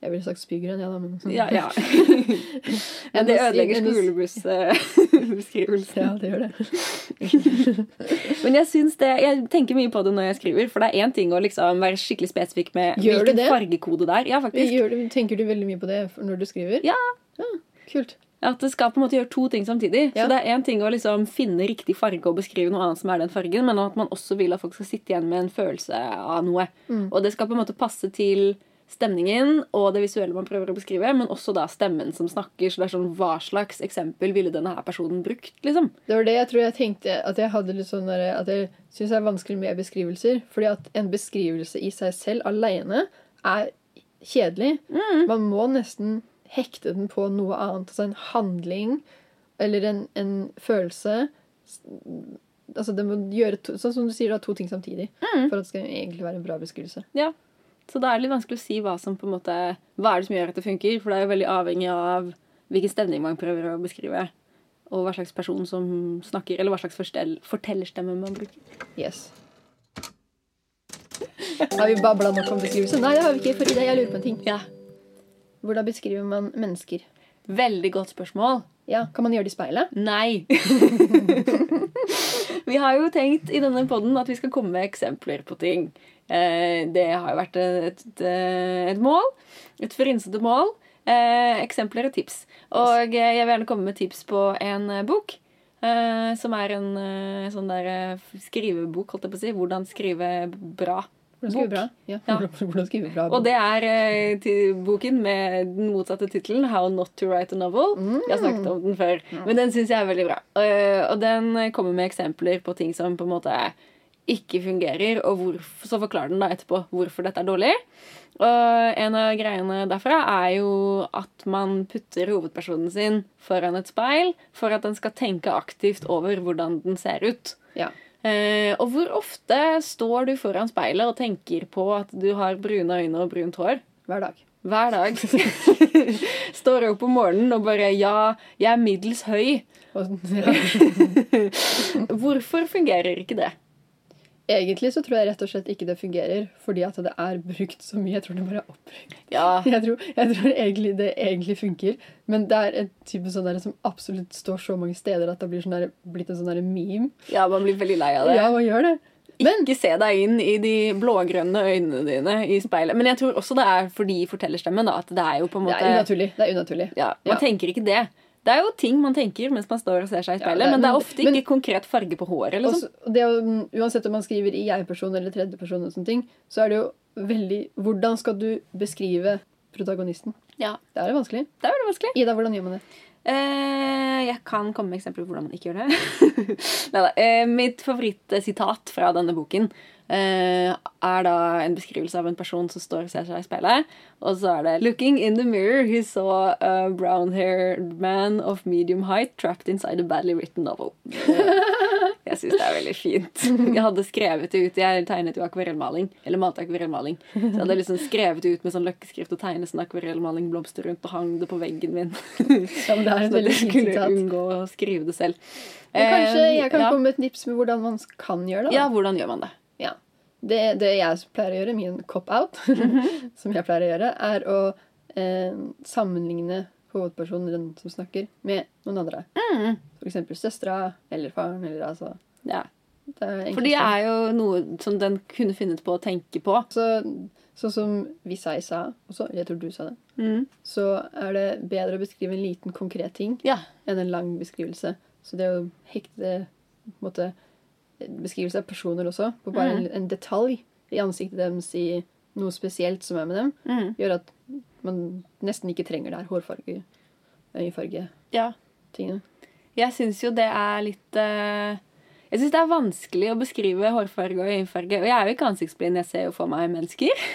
[SPEAKER 2] Jeg ville sagt spygrønn, jeg, ja, da. Men,
[SPEAKER 1] Mm.
[SPEAKER 2] altså.
[SPEAKER 1] Ja, ja.
[SPEAKER 2] Enn
[SPEAKER 1] Men det
[SPEAKER 2] å si-
[SPEAKER 1] ødelegger
[SPEAKER 2] enn å si-
[SPEAKER 1] skolebussbeskrivelsen.
[SPEAKER 2] Ja, det gjør det.
[SPEAKER 1] Men jeg, syns det, jeg tenker mye på det når jeg skriver, for det er én ting å liksom være skikkelig spesifikk med
[SPEAKER 2] Gjør du
[SPEAKER 1] hvilken
[SPEAKER 2] det?
[SPEAKER 1] fargekode det er. Ja, faktisk.
[SPEAKER 2] Gjør du, tenker du veldig mye på det når du skriver?
[SPEAKER 1] Ja.
[SPEAKER 2] Kult.
[SPEAKER 1] At det skal på en måte gjøre to ting samtidig.
[SPEAKER 2] Ja.
[SPEAKER 1] Så det er én ting å liksom finne riktig farge og beskrive noe annet som er den fargen, men at man også vil at folk skal sitte igjen med en følelse av noe.
[SPEAKER 2] Mm.
[SPEAKER 1] Og det skal på en måte passe til stemningen og det visuelle man prøver å beskrive, men også da stemmen som snakker. Så det er sånn hva slags eksempel ville denne her personen brukt, liksom?
[SPEAKER 2] Det var det jeg tror jeg tenkte at jeg hadde litt sånn der, at jeg syns er vanskelig med beskrivelser. Fordi at en beskrivelse i seg selv alene er kjedelig. Man må nesten hekte den på noe annet. Altså en handling eller en, en følelse. S- Altså det må gjøre to, Sånn som du sier, da, to ting samtidig. For at det skal egentlig være en bra beskrivelse.
[SPEAKER 1] Ja. Så da er det litt vanskelig å si hva som på en måte Hva er det som gjør at det funker? For det er jo veldig avhengig av hvilken stemning man prøver å beskrive. Og hva slags person som snakker, eller hva slags forstell, fortellerstemme man bruker.
[SPEAKER 2] Yes. Har vi babla nok om beskrivelse? Nei, det har vi ikke. For i det, jeg lurer på en ting.
[SPEAKER 1] Ja.
[SPEAKER 2] Hvordan beskriver man mennesker?
[SPEAKER 1] Veldig godt spørsmål.
[SPEAKER 2] Ja, Kan man gjøre det i speilet?
[SPEAKER 1] Nei. vi har jo tenkt i denne podden at vi skal komme med eksempler på ting. Eh, Det har jo vært et, et, eh, et mål. Et frynsete mål. Eh, Eksempler og tips. Og eh, jeg vil gjerne komme med tips på en eh, bok. eh, Som er en eh, sånn der eh, skrivebok, holdt jeg på å si. Hvordan skrive bra. Bok.
[SPEAKER 2] Hvordan skriver vi bra? Ja.
[SPEAKER 1] Ja.
[SPEAKER 2] Hvordan skriver vi bra?
[SPEAKER 1] Og det er eh, til boken med den motsatte tittelen, 'How Not To Write a Novel'. Jeg har snakket om den før, men den syns jeg er veldig bra. Eh, og den kommer med eksempler på ting som på en måte ikke fungerer, og hvorf- så forklarer den da etterpå hvorfor dette er dårlig. Og en av greiene derfra er jo at man putter hovedpersonen sin foran et speil for at den skal tenke aktivt over hvordan den ser ut.
[SPEAKER 2] Ja.
[SPEAKER 1] Eh, og hvor ofte står du foran speilet og tenker på at du har brune øyne og brunt hår?
[SPEAKER 2] Hver dag.
[SPEAKER 1] Hver dag. står opp om morgenen og bare Ja, jeg er middels høy.
[SPEAKER 2] Og, sånn. ja.
[SPEAKER 1] Hvorfor fungerer ikke det?
[SPEAKER 2] Egentlig så tror jeg rett og slett ikke det fungerer, fordi at det er brukt så mye. Jeg tror det bare er oppbrukt.
[SPEAKER 1] Ja,
[SPEAKER 2] Jeg tror, jeg tror egentlig det egentlig funker, men det er en type sånn der som absolutt står så mange steder at det blir sånn der, blitt en sånn der meme.
[SPEAKER 1] ja man blir veldig lei av det.
[SPEAKER 2] Ja, hva gjør det? Men
[SPEAKER 1] Ikke se deg inn i de blågrønne øynene dine i speilet. Men jeg tror også det er fordi fortellerstemmen, da. At det er jo på en
[SPEAKER 2] det
[SPEAKER 1] måte
[SPEAKER 2] er unaturlig. Det er unaturlig.
[SPEAKER 1] Ja, Man
[SPEAKER 2] Ja.
[SPEAKER 1] tenker ikke det. Det er jo ting man tenker mens man står og ser seg i
[SPEAKER 2] Ja,
[SPEAKER 1] speilet,
[SPEAKER 2] det-
[SPEAKER 1] men det er
[SPEAKER 2] men-
[SPEAKER 1] ofte
[SPEAKER 2] men-
[SPEAKER 1] ikke konkret farge på håret.
[SPEAKER 2] Og
[SPEAKER 1] Liksom.
[SPEAKER 2] så- og det, er jo, mm, uansett om man skriver i jeg-person eller tredjeperson, og sånne ting, så er det jo veldig Hvordan skal du beskrive protagonisten?
[SPEAKER 1] Ja.
[SPEAKER 2] Det er vanskelig.
[SPEAKER 1] Det er veldig vanskelig.
[SPEAKER 2] Ida, hvordan gjør man det?
[SPEAKER 1] Eh, jeg kan komme med eksempler på hvordan man ikke gjør det. Neida. Eh, mitt favorittsitat fra denne boken eh, er da en beskrivelse av en person som står og ser seg i speilet. Og så er det Looking in the mirror, he saw a brown-haired man of medium height trapped inside a badly written novel. Eh, Jeg syns det er veldig fint. Jeg hadde skrevet det ut. Jeg tegnet jo akvarellmaling. Eller malte akvarellmaling. Så jeg hadde liksom skrevet det ut med sånn løkkeskrift og tegnet sånn akvarellmaling blomster rundt og hang det på veggen min.
[SPEAKER 2] Ja, men det er
[SPEAKER 1] Sånn
[SPEAKER 2] et
[SPEAKER 1] at
[SPEAKER 2] veldig
[SPEAKER 1] jeg
[SPEAKER 2] fint
[SPEAKER 1] skulle
[SPEAKER 2] sitat.
[SPEAKER 1] unngå å skrive det selv.
[SPEAKER 2] Men kanskje
[SPEAKER 1] Eh,
[SPEAKER 2] jeg kan
[SPEAKER 1] ja.
[SPEAKER 2] komme med et tips med hvordan man kan gjøre det. da.
[SPEAKER 1] Ja, hvordan gjør man det?
[SPEAKER 2] Ja. Det, det jeg pleier å gjøre, min cop-out,
[SPEAKER 1] Mhm.
[SPEAKER 2] som jeg pleier å gjøre, er å eh, sammenligne hovedpersonen, den som snakker, med noen andre.
[SPEAKER 1] Mm.
[SPEAKER 2] For eksempel søstera eller faren eller altså
[SPEAKER 1] Ja.
[SPEAKER 2] det er
[SPEAKER 1] For det er jo noe som den kunne funnet på å tenke på.
[SPEAKER 2] Så, sånn som Visay sa også, eller jeg tror du sa det, så er det bedre å beskrive en liten, konkret ting
[SPEAKER 1] Ja.
[SPEAKER 2] enn en lang beskrivelse. Så det å hekte eh, på en måte, beskrivelse av personer også, på bare
[SPEAKER 1] Mm.
[SPEAKER 2] en, en detalj i ansiktet deres, i noe spesielt som er med dem,
[SPEAKER 1] Mm.
[SPEAKER 2] gjør at man nesten ikke trenger det her hårfarge, øyefarge-tingene.
[SPEAKER 1] ja. Jeg syns jo det er litt eh, Jeg syns det er vanskelig å beskrive hårfarge og øyenfarge. Og jeg er jo ikke ansiktsblind, jeg ser jo for meg mennesker.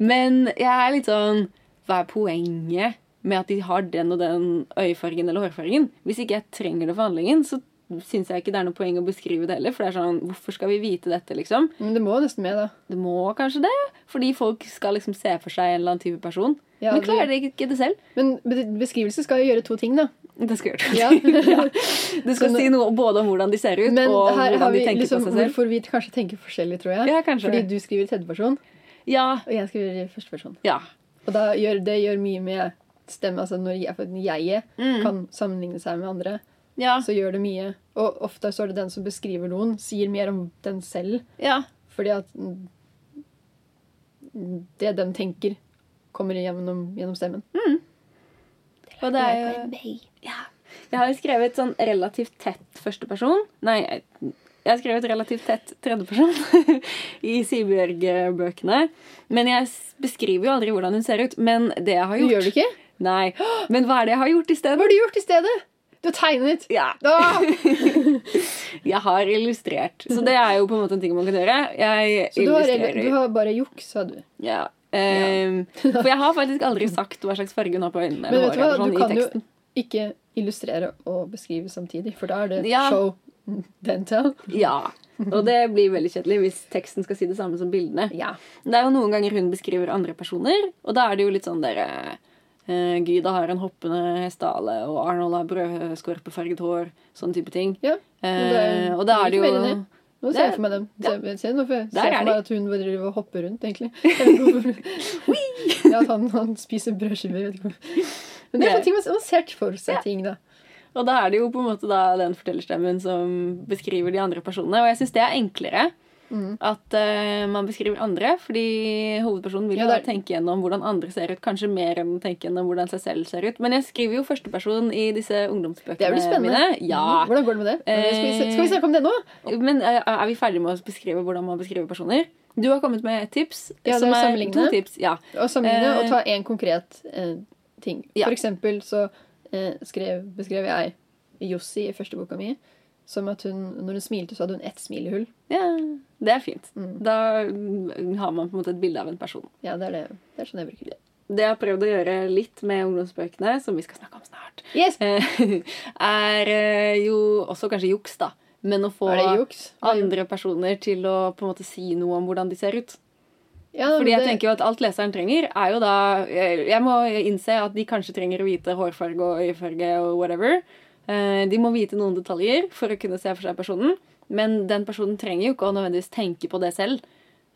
[SPEAKER 1] Men jeg er litt sånn Hva er poenget med at de har den og den øyefargen eller hårfargen? Hvis ikke jeg trenger det for handlingen, så syns jeg ikke det er noe poeng å beskrive det heller. For det er sånn Hvorfor skal vi vite dette, liksom?
[SPEAKER 2] Men det må nesten med, da.
[SPEAKER 1] Det må kanskje det, fordi folk skal liksom se for seg en eller annen type person.
[SPEAKER 2] Ja,
[SPEAKER 1] Men klarer de ikke det selv?
[SPEAKER 2] Men be- beskrivelse skal jo gjøre to ting, da.
[SPEAKER 1] Det skal gjøre
[SPEAKER 2] Ja.
[SPEAKER 1] det. Ja. Du skal
[SPEAKER 2] Så nå-
[SPEAKER 1] si noe både om hvordan de ser ut,
[SPEAKER 2] Men
[SPEAKER 1] og
[SPEAKER 2] her har
[SPEAKER 1] hvordan de
[SPEAKER 2] vi
[SPEAKER 1] tenker på
[SPEAKER 2] liksom
[SPEAKER 1] seg selv.
[SPEAKER 2] hvorfor vi kanskje tenker forskjellig, tror jeg.
[SPEAKER 1] Ja, kanskje
[SPEAKER 2] Fordi
[SPEAKER 1] det.
[SPEAKER 2] du skriver i tredjeperson,
[SPEAKER 1] Ja,
[SPEAKER 2] og jeg skriver i førsteperson.
[SPEAKER 1] ja.
[SPEAKER 2] Og da gjør, det gjør mye med stemme. Altså når jeg, når jeg kan sammenligne seg med andre,
[SPEAKER 1] Mm. Ja.
[SPEAKER 2] så gjør det mye. Og ofte så er det den som beskriver noen, sier mer om den selv.
[SPEAKER 1] ja.
[SPEAKER 2] Fordi at mm, det den tenker, kommer gjennom, gjennom stemmen.
[SPEAKER 1] Og det er jo ja. Jeg har jo skrevet sånn relativt tett førsteperson. Nei, jeg jeg har skrevet relativt tett tredjeperson i Sibjørg-bøkene. Men jeg s- beskriver jo aldri hvordan hun ser ut. Men det jeg har
[SPEAKER 2] Du
[SPEAKER 1] gjort
[SPEAKER 2] gjør det ikke?
[SPEAKER 1] Nei. Men hva er det jeg har gjort i
[SPEAKER 2] Hva
[SPEAKER 1] stedet?
[SPEAKER 2] har du gjort i stedet? Du har tegnet!
[SPEAKER 1] Ja.
[SPEAKER 2] Ah!
[SPEAKER 1] Jeg har illustrert. Så det er jo på en måte en ting man kan gjøre. Jeg
[SPEAKER 2] Så du har,
[SPEAKER 1] illustrerer.
[SPEAKER 2] du har bare juksa, du.
[SPEAKER 1] Ja. Ehm, for jeg har faktisk aldri sagt hva slags farge hun har på øynene.
[SPEAKER 2] Men
[SPEAKER 1] eller
[SPEAKER 2] vet du hva,
[SPEAKER 1] håret, eller sånn, i
[SPEAKER 2] du kan jo
[SPEAKER 1] teksten.
[SPEAKER 2] ikke illustrere og beskrive samtidig, for da er det
[SPEAKER 1] Ja.
[SPEAKER 2] show then tell.
[SPEAKER 1] Ja. Og det blir veldig kjedelig hvis teksten skal si det samme som bildene.
[SPEAKER 2] Ja.
[SPEAKER 1] Det er jo noen ganger hun beskriver andre personer, og da er det jo litt sånn dere eh, Gyda har en hoppende hestehale, og Arnold har brødskorpefarget hår. Sånn type ting.
[SPEAKER 2] Ja, men det er-
[SPEAKER 1] Eh, og da er det
[SPEAKER 2] det er ikke mer enn
[SPEAKER 1] jo
[SPEAKER 2] det. Nå ser jeg
[SPEAKER 1] Det-
[SPEAKER 2] for meg dem. Se, se, nå får jeg se
[SPEAKER 1] Der er
[SPEAKER 2] for
[SPEAKER 1] de.
[SPEAKER 2] meg at hun bare driver og hopper rundt, egentlig. ja, at han, han spiser brødskiver. jeg vet ikke hvorfor. Men det er
[SPEAKER 1] Det-
[SPEAKER 2] sånne ting man, man ser for seg ting, da.
[SPEAKER 1] Og da er det jo på en måte da den fortellerstemmen som beskriver de andre personene. Og jeg syns det er enklere.
[SPEAKER 2] Mm.
[SPEAKER 1] At eh, man beskriver andre, fordi hovedpersonen vil jo
[SPEAKER 2] Ja, det er-
[SPEAKER 1] da tenke gjennom hvordan andre ser ut. Kanskje mer enn å tenke gjennom hvordan seg selv ser ut. Men jeg skriver jo førsteperson i disse
[SPEAKER 2] Det blir
[SPEAKER 1] ungdomsbøkene
[SPEAKER 2] spennende. Mhm. Mm.
[SPEAKER 1] mine. Eh, Ja. Eh,
[SPEAKER 2] Hvordan går det med det? Skal vi, se- skal vi snakke om det nå?
[SPEAKER 1] Men eh, er vi ferdige med å beskrive hvordan man beskriver personer? Du har kommet med et tips.
[SPEAKER 2] Ja, det er
[SPEAKER 1] som
[SPEAKER 2] å
[SPEAKER 1] er
[SPEAKER 2] sammenligne.
[SPEAKER 1] to tips. Ja.
[SPEAKER 2] Og
[SPEAKER 1] Eh,
[SPEAKER 2] sammenligne og ta én konkret eh, ting.
[SPEAKER 1] ja.
[SPEAKER 2] For eksempel så eh, skrev, beskrev jeg Jossi i første boka mi som at hun, når hun smilte, så hadde hun ett smilehull.
[SPEAKER 1] ja. Det er fint.
[SPEAKER 2] Mm.
[SPEAKER 1] Da mm, har man på en måte et bilde av en person.
[SPEAKER 2] Ja, det er, det. det er sånn jeg bruker det.
[SPEAKER 1] Det jeg har prøvd å gjøre litt med ungdomsbøkene, som vi skal snakke om snart,
[SPEAKER 2] Yes!
[SPEAKER 1] eh, er eh, jo også kanskje juks, da. Men å få
[SPEAKER 2] Er det juks?
[SPEAKER 1] andre personer til å på en måte si noe om hvordan de ser ut.
[SPEAKER 2] Ja,
[SPEAKER 1] Fordi jeg
[SPEAKER 2] det-
[SPEAKER 1] tenker jo at alt leseren trenger, er jo da Jeg jeg må innse at de kanskje trenger å vite hårfarge og øyefarge og whatever. Eh, De må vite noen detaljer for å kunne se for seg personen. Men den personen trenger jo ikke å nødvendigvis tenke på det selv.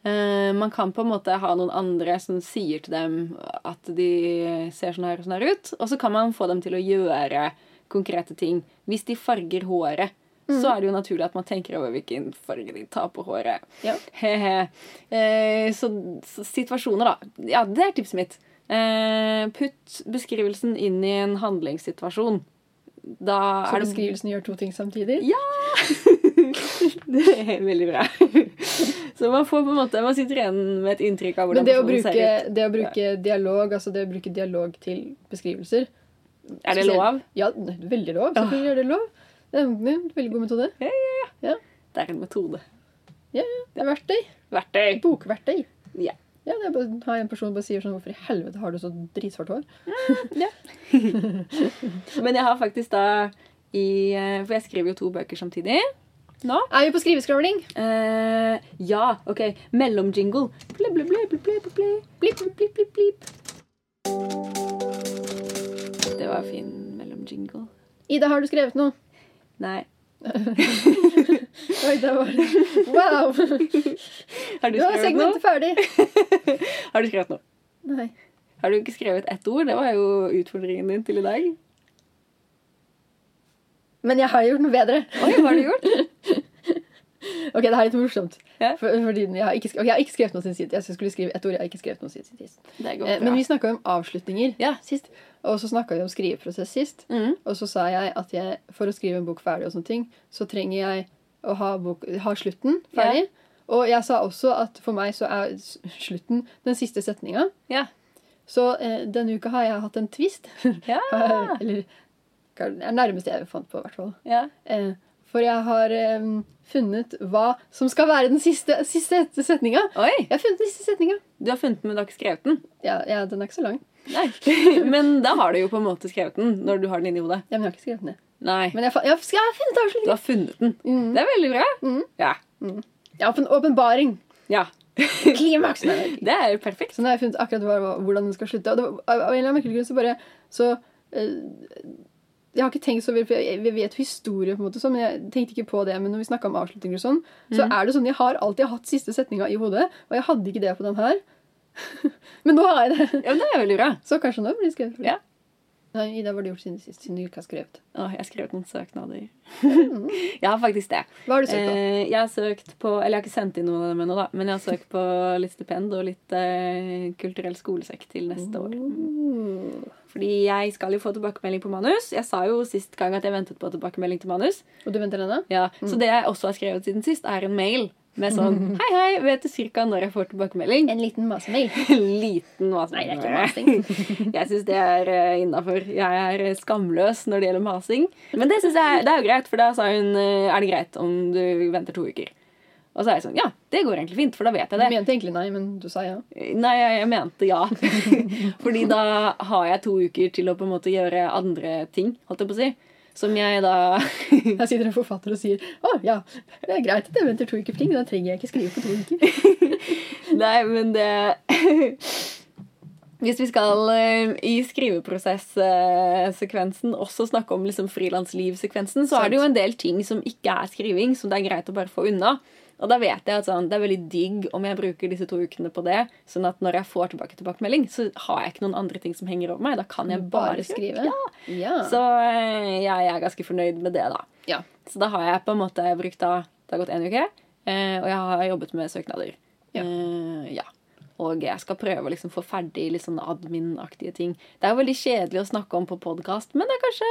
[SPEAKER 1] Eh, Man kan på en måte ha noen andre som sier til dem at de ser sånn her og sånn her ut. Og så kan man få dem til å gjøre konkrete ting. Hvis de farger håret, så
[SPEAKER 2] Mm.
[SPEAKER 1] er det jo naturlig at man tenker over hvilken farge de tar på håret.
[SPEAKER 2] Ja.
[SPEAKER 1] Hehe. Eh, så, så situasjoner, da. Ja, det er tipset mitt. Eh, putt beskrivelsen inn i en handlingssituasjon. Da
[SPEAKER 2] Så
[SPEAKER 1] er det
[SPEAKER 2] beskrivelsen gjør to ting samtidig?
[SPEAKER 1] Ja. Det er Veldig bra. Så man får på en måte Man sitter igjen med et inntrykk av
[SPEAKER 2] Men
[SPEAKER 1] hvordan
[SPEAKER 2] det å,
[SPEAKER 1] personen
[SPEAKER 2] bruke,
[SPEAKER 1] ser ut.
[SPEAKER 2] det å bruke dialog, altså det å bruke dialog til beskrivelser
[SPEAKER 1] Er det lov?
[SPEAKER 2] Ja, ne- veldig lov. Selvfølgelig
[SPEAKER 1] Ah.
[SPEAKER 2] er det lov. Det er en veldig god metode.
[SPEAKER 1] Det er en metode.
[SPEAKER 2] Det er verktøy.
[SPEAKER 1] Verktøy.
[SPEAKER 2] Bokverktøy.
[SPEAKER 1] Ja.
[SPEAKER 2] Ja, det er bare, har en person bare sier sånn Hvorfor i helvete har du så dritsvart hår?
[SPEAKER 1] Men jeg har faktisk da i eh, For jeg skriver jo to bøker samtidig. Nå.
[SPEAKER 2] Er vi på skriveskravling?
[SPEAKER 1] Eh, ja, OK. Mellomjingle. Ble, ble, ble, ble, ble, ble, ble. Blip, blip, blip, blip, blip. Det var fin mellomjingle.
[SPEAKER 2] Ida, har du skrevet noe?
[SPEAKER 1] Nei.
[SPEAKER 2] Oi, der var det. Wow!
[SPEAKER 1] Har du
[SPEAKER 2] Du
[SPEAKER 1] skrevet
[SPEAKER 2] har
[SPEAKER 1] noe?
[SPEAKER 2] segmentet ferdig.
[SPEAKER 1] Har du skrevet noe?
[SPEAKER 2] Nei.
[SPEAKER 1] Har du ikke skrevet ett ord? Det var jo utfordringen din til i dag.
[SPEAKER 2] Men jeg har gjort noe bedre.
[SPEAKER 1] Oi, hva har du gjort?
[SPEAKER 2] Ok, det her er litt morsomt.
[SPEAKER 1] Ja.
[SPEAKER 2] For, fordi jeg, har ikke skrevet, ok, jeg har ikke skrevet noe siden sist. Jeg skulle skrive et ord jeg har ikke skrevet noe siden sist.
[SPEAKER 1] Det går
[SPEAKER 2] Eh,
[SPEAKER 1] bra.
[SPEAKER 2] Men vi snakka om avslutninger
[SPEAKER 1] Ja.
[SPEAKER 2] sist. Og så snakka vi om skriveprosess sist.
[SPEAKER 1] Mhm.
[SPEAKER 2] Og så sa jeg at jeg, for å skrive en bok ferdig, og sånne ting, så trenger jeg å ha, bok, ha slutten ferdig. Og jeg sa også at for meg så er s- slutten den siste setninga.
[SPEAKER 1] Ja.
[SPEAKER 2] Så eh, denne uka har jeg hatt en twist.
[SPEAKER 1] Ja. Ah.
[SPEAKER 2] Eller det er nærmeste jeg fant på, i hvert fall.
[SPEAKER 1] ja.
[SPEAKER 2] Eh, for jeg har eh, funnet hva som skal være den siste, siste setninga.
[SPEAKER 1] Oi!
[SPEAKER 2] Jeg har funnet den siste setninga.
[SPEAKER 1] Du har funnet den, men du har ikke skrevet den.
[SPEAKER 2] Ja, ja, den er ikke så lang.
[SPEAKER 1] Nei. Men da har du jo på en måte skrevet den når du har den inni hodet.
[SPEAKER 2] Ja, men jeg har ikke skrevet den ned.
[SPEAKER 1] Nei.
[SPEAKER 2] Men jeg, fa- jeg, skal, jeg har funnet
[SPEAKER 1] Du
[SPEAKER 2] avslutningen!
[SPEAKER 1] har funnet den.
[SPEAKER 2] Mm.
[SPEAKER 1] Det er veldig bra.
[SPEAKER 2] Mhm.
[SPEAKER 1] Ja.
[SPEAKER 2] Jeg har fått en åpenbaring.
[SPEAKER 1] ja.
[SPEAKER 2] Klimaks! Nei, nei.
[SPEAKER 1] Det er jo perfekt.
[SPEAKER 2] Så nå har jeg funnet akkurat hva, hva- hvordan den skal slutte. Og det var, av av en eller annen merkelig grunn så bare så eh, Jeg har ikke tenkt så mye, for jeg, jeg vet jo historie, på en måte, sånn, men jeg tenkte ikke på det. Men når vi snakka om avslutninger og sånn, så er det sånn jeg har alltid hatt siste setninga i hodet. Og jeg hadde ikke det på den her. men nå har jeg det.
[SPEAKER 1] Ja, men det er veldig bra.
[SPEAKER 2] Så kanskje nå blir det skrevet.
[SPEAKER 1] Ja.
[SPEAKER 2] Nei, Ida, hva har du gjort siden sist? Siden du ikke har skrevet.
[SPEAKER 1] Å, jeg har skrevet noen søknader. jeg har faktisk det.
[SPEAKER 2] Hva har du søkt på?
[SPEAKER 1] Eh, jeg har søkt på Eller jeg har ikke sendt inn noe av dem ennå, da. Men jeg har søkt på litt stipend og litt eh, kulturell skolesekk til neste år.
[SPEAKER 2] Mm.
[SPEAKER 1] Fordi jeg skal jo få tilbakemelding på manus. Jeg sa jo sist gang at jeg ventet på tilbakemelding til manus.
[SPEAKER 2] Og du venter ennå?
[SPEAKER 1] Ja, Så det jeg også har skrevet siden sist, er en mail med sånn Hei, hei, vet du cirka når jeg får tilbakemelding?
[SPEAKER 2] En liten masemail.
[SPEAKER 1] En liten masing.
[SPEAKER 2] Nei, det er ikke
[SPEAKER 1] masing. jeg syns det er eh, innafor. Jeg er eh, skamløs når det gjelder masing. Men det synes jeg, det er jo greit, for da sa hun eh, Er det greit om du venter to uker? Og så er jeg sånn Ja, det går egentlig fint, for da vet jeg
[SPEAKER 2] Du
[SPEAKER 1] det.
[SPEAKER 2] mente egentlig nei, men du sa ja.
[SPEAKER 1] Nei, jeg, jeg mente ja. Fordi da har jeg to uker til å på en måte gjøre andre ting, holdt jeg på å si. Som jeg da
[SPEAKER 2] Her sitter en forfatter og sier å ja, det er greit at jeg venter to uker for ting, men da trenger jeg ikke skrive på to uker.
[SPEAKER 1] Nei, men det Hvis vi skal eh, i skriveprosesssekvensen også snakke om liksom frilanslivsekvensen, så
[SPEAKER 2] Sant.
[SPEAKER 1] er det jo en del ting som ikke er skriving, som det er greit å bare få unna. Og da vet jeg at sånn, det er veldig digg om jeg bruker disse to ukene på det, sånn at når jeg får tilbake tilbakemelding, så har jeg ikke noen andre ting som henger over meg. Da kan jeg bare,
[SPEAKER 2] Bare
[SPEAKER 1] skrive.
[SPEAKER 2] skrive. Ja.
[SPEAKER 1] Så eh, jeg er ganske fornøyd med det, da.
[SPEAKER 2] Ja.
[SPEAKER 1] Så da har jeg på en måte brukt da Det har gått en uke. Eh, og jeg har jobbet med søknader.
[SPEAKER 2] Ja.
[SPEAKER 1] Eh, ja. Og jeg skal prøve å liksom få ferdig litt sånn admin-aktige ting. Det er jo veldig kjedelig å snakke om på podkast, men det er kanskje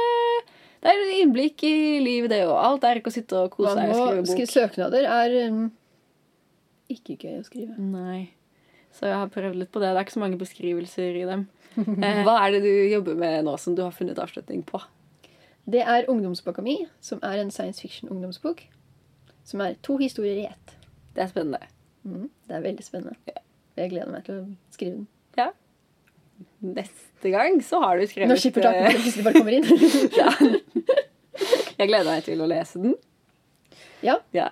[SPEAKER 1] det er et innblikk i livet, det òg. Alt er ikke å sitte og kose
[SPEAKER 2] Man
[SPEAKER 1] seg og
[SPEAKER 2] må
[SPEAKER 1] skrive bok.
[SPEAKER 2] skrive søknader er um, ikke gøy å skrive.
[SPEAKER 1] Nei. Så jeg har prøvd litt på det. Det er ikke så mange beskrivelser i dem. Eh, hva er det du jobber med nå som du har funnet avslutning på?
[SPEAKER 2] Det er Ungdomsboka mi, som er en science fiction-ungdomsbok. Som er to historier i ett.
[SPEAKER 1] Det er spennende.
[SPEAKER 2] Mm, det er veldig spennende. Jeg gleder meg til å skrive den.
[SPEAKER 1] Neste gang så har du skrevet
[SPEAKER 2] Når skippertaket bare plutselig bare kommer inn.
[SPEAKER 1] eh, ja. Jeg gleder meg til å lese den.
[SPEAKER 2] ja.
[SPEAKER 1] Ja.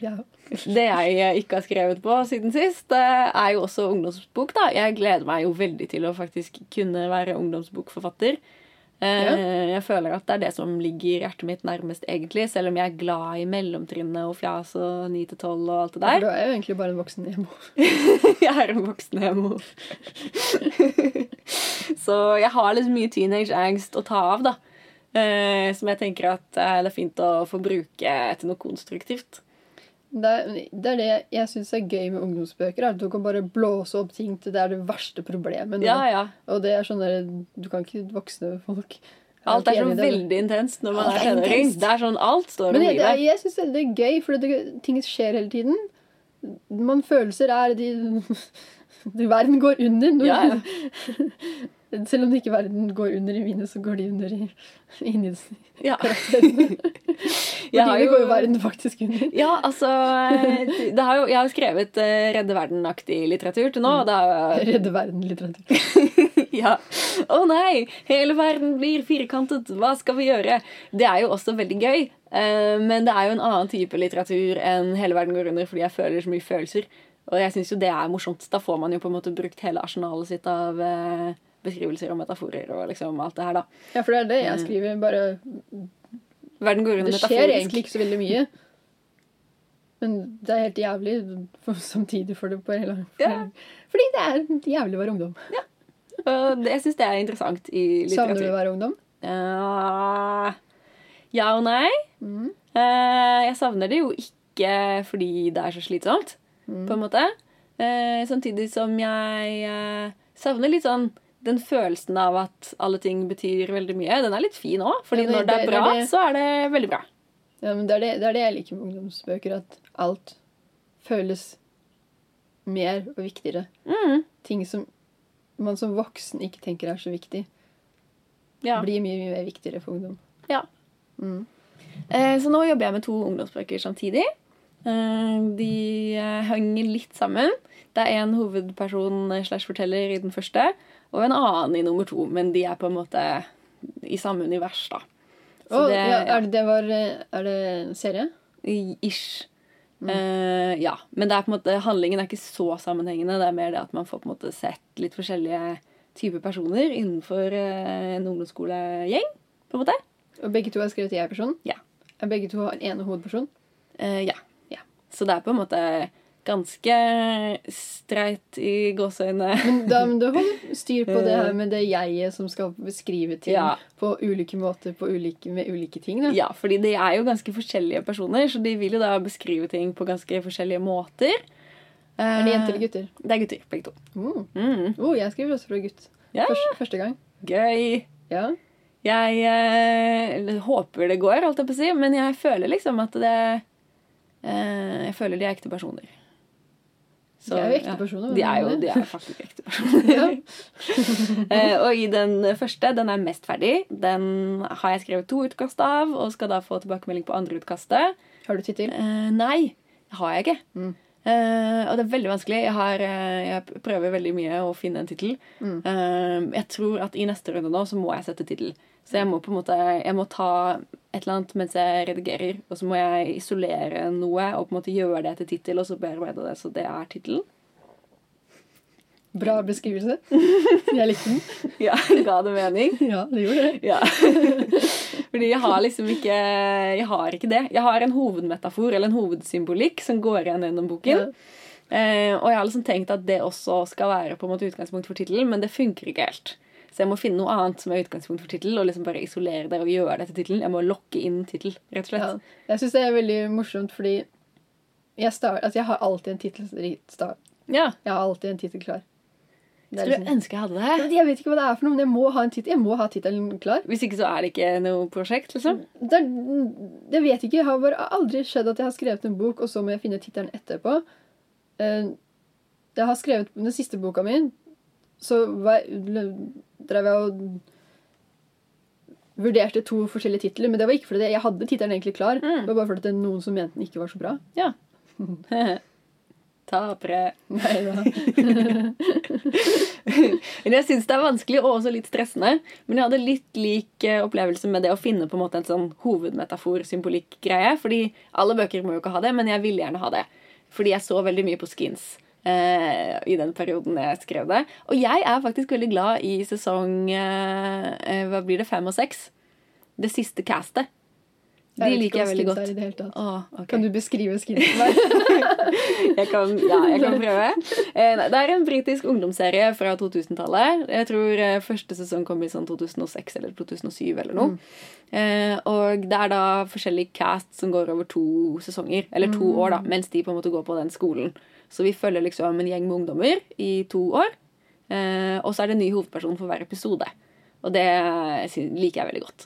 [SPEAKER 2] ja.
[SPEAKER 1] Det jeg eh, ikke har skrevet på siden sist, eh, er jo også ungdomsbok. da. Jeg gleder meg jo veldig til å faktisk kunne være ungdomsbokforfatter. Eh, Jeg føler at det er det som ligger hjertet mitt nærmest, egentlig. Selv om jeg er glad i mellomtrinnet og fjas og 9 til 12 og alt det der.
[SPEAKER 2] For du er jo egentlig bare en voksen emo.
[SPEAKER 1] jeg er en voksen emo. så jeg har liksom mye teenage-angst å ta av, da. Eh, som jeg tenker at eh, det er fint å få bruke til noe konstruktivt.
[SPEAKER 2] Det er det, er det jeg syns er gøy med ungdomsbøker. er At du kan bare blåse opp ting til det er det verste problemet. nå.
[SPEAKER 1] Ja, ja.
[SPEAKER 2] Og det er sånn der, Du kan ikke voksne folk Jeg
[SPEAKER 1] Alt er
[SPEAKER 2] ikke
[SPEAKER 1] så
[SPEAKER 2] enig i det.
[SPEAKER 1] veldig intenst når man er
[SPEAKER 2] Alt er
[SPEAKER 1] tenåring.
[SPEAKER 2] intenst.
[SPEAKER 1] Det er sånn alt står
[SPEAKER 2] Men
[SPEAKER 1] om
[SPEAKER 2] jeg, det, er-
[SPEAKER 1] livet.
[SPEAKER 2] jeg syns det er gøy, for det, ting skjer hele tiden. Man følelser er de, de Verden går under. når-
[SPEAKER 1] Ja, ja.
[SPEAKER 2] Selv om ikke verden går under i mine, så går de under i, inni
[SPEAKER 1] Ja.
[SPEAKER 2] karakterene.
[SPEAKER 1] Jeg
[SPEAKER 2] Ja,
[SPEAKER 1] har
[SPEAKER 2] jo... går jo
[SPEAKER 1] jo-
[SPEAKER 2] verden faktisk under.
[SPEAKER 1] Ja, altså eh, det har jo, Jeg har jo skrevet eh, Redde verden-aktig litteratur til nå.
[SPEAKER 2] Mm.
[SPEAKER 1] og Det har,
[SPEAKER 2] Redde verden-litteratur.
[SPEAKER 1] ja. Å nei! Hele verden blir firkantet. Hva skal vi gjøre? Det er jo også veldig gøy. eh, Men det er jo en annen type litteratur enn Hele verden går under fordi jeg føler så mye følelser. Og jeg syns jo det er morsomt. Da får man jo på en måte brukt hele arsenalet sitt av eh, beskrivelser og metaforer og liksom alt det her, da.
[SPEAKER 2] Ja, for det er det jeg skriver. bare...
[SPEAKER 1] Verden går under
[SPEAKER 2] Det skjer
[SPEAKER 1] metaforisk.
[SPEAKER 2] egentlig ikke så veldig mye. Men det er helt jævlig for, samtidig for det på hele
[SPEAKER 1] Ja.
[SPEAKER 2] Fordi det er jævlig å være ungdom.
[SPEAKER 1] Og det- Jeg syns det er interessant i
[SPEAKER 2] Savner du å
[SPEAKER 1] litteratur.
[SPEAKER 2] være ungdom?
[SPEAKER 1] Eh, ja og nei.
[SPEAKER 2] Mm.
[SPEAKER 1] Eh, jeg savner det jo ikke fordi det er så slitsomt,
[SPEAKER 2] Mm.
[SPEAKER 1] på en måte. Eh, samtidig som jeg eh, savner litt sånn den følelsen av at alle ting betyr veldig mye. Den er litt fin òg, fordi
[SPEAKER 2] Ja, det-
[SPEAKER 1] når det er
[SPEAKER 2] det-
[SPEAKER 1] bra,
[SPEAKER 2] det-
[SPEAKER 1] så er det veldig bra.
[SPEAKER 2] Ja, men det, er det, det er det jeg liker med ungdomsbøker, at alt føles mer og viktigere.
[SPEAKER 1] Mm,
[SPEAKER 2] Ting som man som voksen ikke tenker er så viktig,
[SPEAKER 1] ja.
[SPEAKER 2] blir mye, mye mer viktigere for ungdom.
[SPEAKER 1] Ja.
[SPEAKER 2] Mm.
[SPEAKER 1] Eh, Så nå jobber jeg med to ungdomsbøker samtidig. Eh, De eh, henger litt sammen. Det er en hovedperson eh, slash forteller i den første, og en annen i nummer to, men de er på en måte i samme univers, da. Så
[SPEAKER 2] Å,
[SPEAKER 1] det-
[SPEAKER 2] ja, er det, det var, eh, er det en serie?
[SPEAKER 1] I- Ish.
[SPEAKER 2] Mm.
[SPEAKER 1] Eh, ja. Men det er på en måte, handlingen er ikke så sammenhengende. Det er mer det at man får på en måte sett litt forskjellige typer personer innenfor eh, en ungdomsskolegjeng, på en måte.
[SPEAKER 2] Og begge to er skrevet i jeg-person?
[SPEAKER 1] Ja.
[SPEAKER 2] Er begge to har en hovedperson?
[SPEAKER 1] Eh, ja.
[SPEAKER 2] Ja.
[SPEAKER 1] Så det er på en måte ganske streit i gåseøynene.
[SPEAKER 2] Men da må du holde styr på det her med det jeget som skal beskrive ting
[SPEAKER 1] Ja.
[SPEAKER 2] på ulike måter på ulike, med ulike ting. Da.
[SPEAKER 1] Ja, fordi de er jo ganske forskjellige personer, så de vil jo da beskrive ting på ganske forskjellige måter.
[SPEAKER 2] Er det jenter eller gutter?
[SPEAKER 1] gutter? Det er gutter, begge to.
[SPEAKER 2] Mm.
[SPEAKER 1] Mm.
[SPEAKER 2] Oh, jeg skriver også fra gutt.
[SPEAKER 1] Ja,
[SPEAKER 2] Første, første gang.
[SPEAKER 1] gøy!
[SPEAKER 2] Ja.
[SPEAKER 1] Jeg eh, håper det går, holdt jeg på å si, men jeg føler liksom at det eh, Jeg føler de er ekte personer. Så,
[SPEAKER 2] De er jo ekte personer,
[SPEAKER 1] De er jo
[SPEAKER 2] men-
[SPEAKER 1] de er faktisk ekte personer.
[SPEAKER 2] Ja.
[SPEAKER 1] Eh, og i den første, den er mest ferdig. Den har jeg skrevet to utkast av, og skal da få tilbakemelding på andre utkastet.
[SPEAKER 2] Har du tittel?
[SPEAKER 1] Eh, nei, det har jeg ikke.
[SPEAKER 2] Mm.
[SPEAKER 1] Eh, og det er veldig vanskelig. Jeg, har, eh, jeg prøver veldig mye å finne en tittel.
[SPEAKER 2] Mm.
[SPEAKER 1] Eh, jeg tror at i neste runde nå så må jeg sette tittel. Så jeg må på en måte jeg må ta et eller annet mens jeg redigerer, og så må jeg isolere noe og på en måte gjøre det til tittel, og så bearbeide det så det er tittelen.
[SPEAKER 2] Bra beskrivelse. Jeg likte den.
[SPEAKER 1] Ja, ga det mening?
[SPEAKER 2] Ja, det gjorde det.
[SPEAKER 1] Ja. Fordi jeg har liksom ikke Jeg har ikke det. Jeg har en hovedmetafor eller en hovedsymbolikk som går igjen gjennom boken. Eh, og jeg har liksom tenkt at det også skal være på en måte utgangspunkt for tittelen, men det funker ikke helt. Så jeg må finne noe annet som er utgangspunkt for tittelen, og liksom bare isolere det og gjøre det til tittelen. Jeg må lokke inn tittel, rett og
[SPEAKER 2] Ja.
[SPEAKER 1] slett.
[SPEAKER 2] Jeg syns det er veldig morsomt, fordi Jeg, star, altså, jeg har alltid en tittel sta-
[SPEAKER 1] Ja.
[SPEAKER 2] Jeg har alltid en tittel klar. Det er
[SPEAKER 1] Skulle
[SPEAKER 2] liksom,
[SPEAKER 1] ønske jeg hadde det.
[SPEAKER 2] jeg vet ikke hva det er for noe, men jeg må ha en tittel. Jeg må ha tittelen klar.
[SPEAKER 1] Hvis ikke så er det ikke noe prosjekt, liksom.
[SPEAKER 2] Det, er, det vet ikke. Jeg har bare aldri skjedd at jeg har skrevet en bok, og så må jeg finne tittelen etterpå. Eh, Jeg har skrevet den siste boka mi, så var, drev jeg og vurderte to forskjellige titler, men det var ikke fordi jeg hadde tittelen egentlig klar.
[SPEAKER 1] Mm.
[SPEAKER 2] Det var bare fordi det er noen som mente den ikke var så bra.
[SPEAKER 1] Tapere.
[SPEAKER 2] Nei, da.
[SPEAKER 1] Men jeg syns det er vanskelig og også litt stressende. Men jeg hadde litt lik eh, opplevelse med det å finne på en måte en sånn hovedmetafor-symbolikk-greie. Fordi alle bøker må jo ikke ha det, men jeg ville gjerne ha det. Fordi jeg så veldig mye på skins eh, i den perioden jeg skrev det. Og jeg er faktisk veldig glad i sesong eh, eh, Hva blir det? Fem og seks? Det siste castet. De
[SPEAKER 2] vet ikke
[SPEAKER 1] liker jeg
[SPEAKER 2] hva
[SPEAKER 1] veldig
[SPEAKER 2] skins er
[SPEAKER 1] godt.
[SPEAKER 2] i det hele tatt.
[SPEAKER 1] Åh, ok.
[SPEAKER 2] Kan du beskrive skinsen meg?
[SPEAKER 1] Jeg kan, ja, jeg kan prøve. Eh, nei, Det er en britisk ungdomsserie fra 2000-tallet. Jeg tror eh, første sesong kom i sånn 2006 eller 2007 eller noe. Eh, og det er da forskjellig cast som går over to sesonger, eller to år, da, mens de på en måte går på den skolen. Så vi følger liksom en gjeng med ungdommer i to år. Eh, og så er det en ny hovedperson for hver episode. Og det eh, sy- liker jeg veldig godt.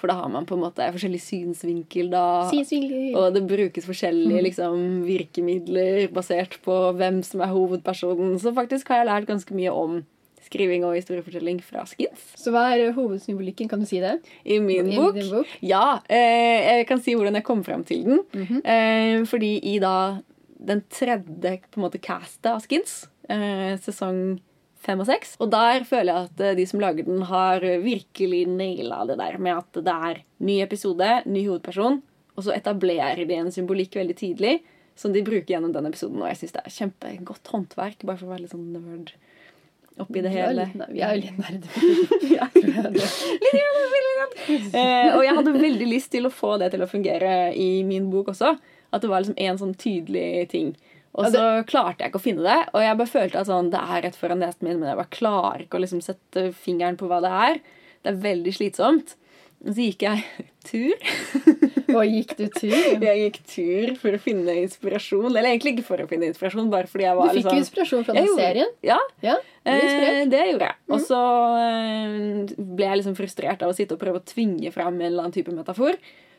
[SPEAKER 1] For da har man på en måte forskjellig synsvinkel. da.
[SPEAKER 2] Synsvinkel.
[SPEAKER 1] Og det brukes forskjellige liksom, virkemidler basert på hvem som er hovedpersonen. Så faktisk har jeg lært ganske mye om skriving og historiefortelling fra Skins.
[SPEAKER 2] Så hva er hovedsymbolikken? Kan du si det?
[SPEAKER 1] I min
[SPEAKER 2] I
[SPEAKER 1] bok.
[SPEAKER 2] din bok?
[SPEAKER 1] Ja. Eh, jeg kan si hvordan jeg kom fram til den.
[SPEAKER 2] Mhm.
[SPEAKER 1] eh, fordi i da den tredje på en måte castet av Skins, eh, sesong fem og seks, og der føler jeg at eh, de som lager den, har virkelig naila det der med at det er ny episode, ny hovedperson, og så etablerer de en symbolikk veldig tidlig. Som de bruker gjennom den episoden. Og jeg syns det er kjempegodt håndverk. Bare for å være litt sånn nerd oppi det
[SPEAKER 2] Vi er
[SPEAKER 1] hele.
[SPEAKER 2] litt nær- Vi er jo litt nerder.
[SPEAKER 1] Eh, og jeg hadde veldig lyst til å få det til å fungere i min bok også. At det var liksom en sånn tydelig ting. Og
[SPEAKER 2] Ja, det-
[SPEAKER 1] så klarte jeg ikke å finne det. Og jeg bare følte at sånn, det er rett foran nesen min, men jeg bare klarer ikke å liksom sette fingeren på hva det er. Det er veldig slitsomt. Og så gikk jeg tur.
[SPEAKER 2] Og gikk du tur?
[SPEAKER 1] Jeg gikk tur for å finne inspirasjon. Eller egentlig ikke for å finne inspirasjon, bare fordi jeg
[SPEAKER 2] Du
[SPEAKER 1] var liksom-
[SPEAKER 2] fikk jo inspirasjon fra
[SPEAKER 1] Jeg
[SPEAKER 2] den
[SPEAKER 1] gjorde-
[SPEAKER 2] serien.
[SPEAKER 1] Ja,
[SPEAKER 2] Ja, du er inspirert.
[SPEAKER 1] Eh, det gjorde jeg. Og så eh, ble jeg liksom frustrert av å sitte og prøve å tvinge fram en eller annen type metafor.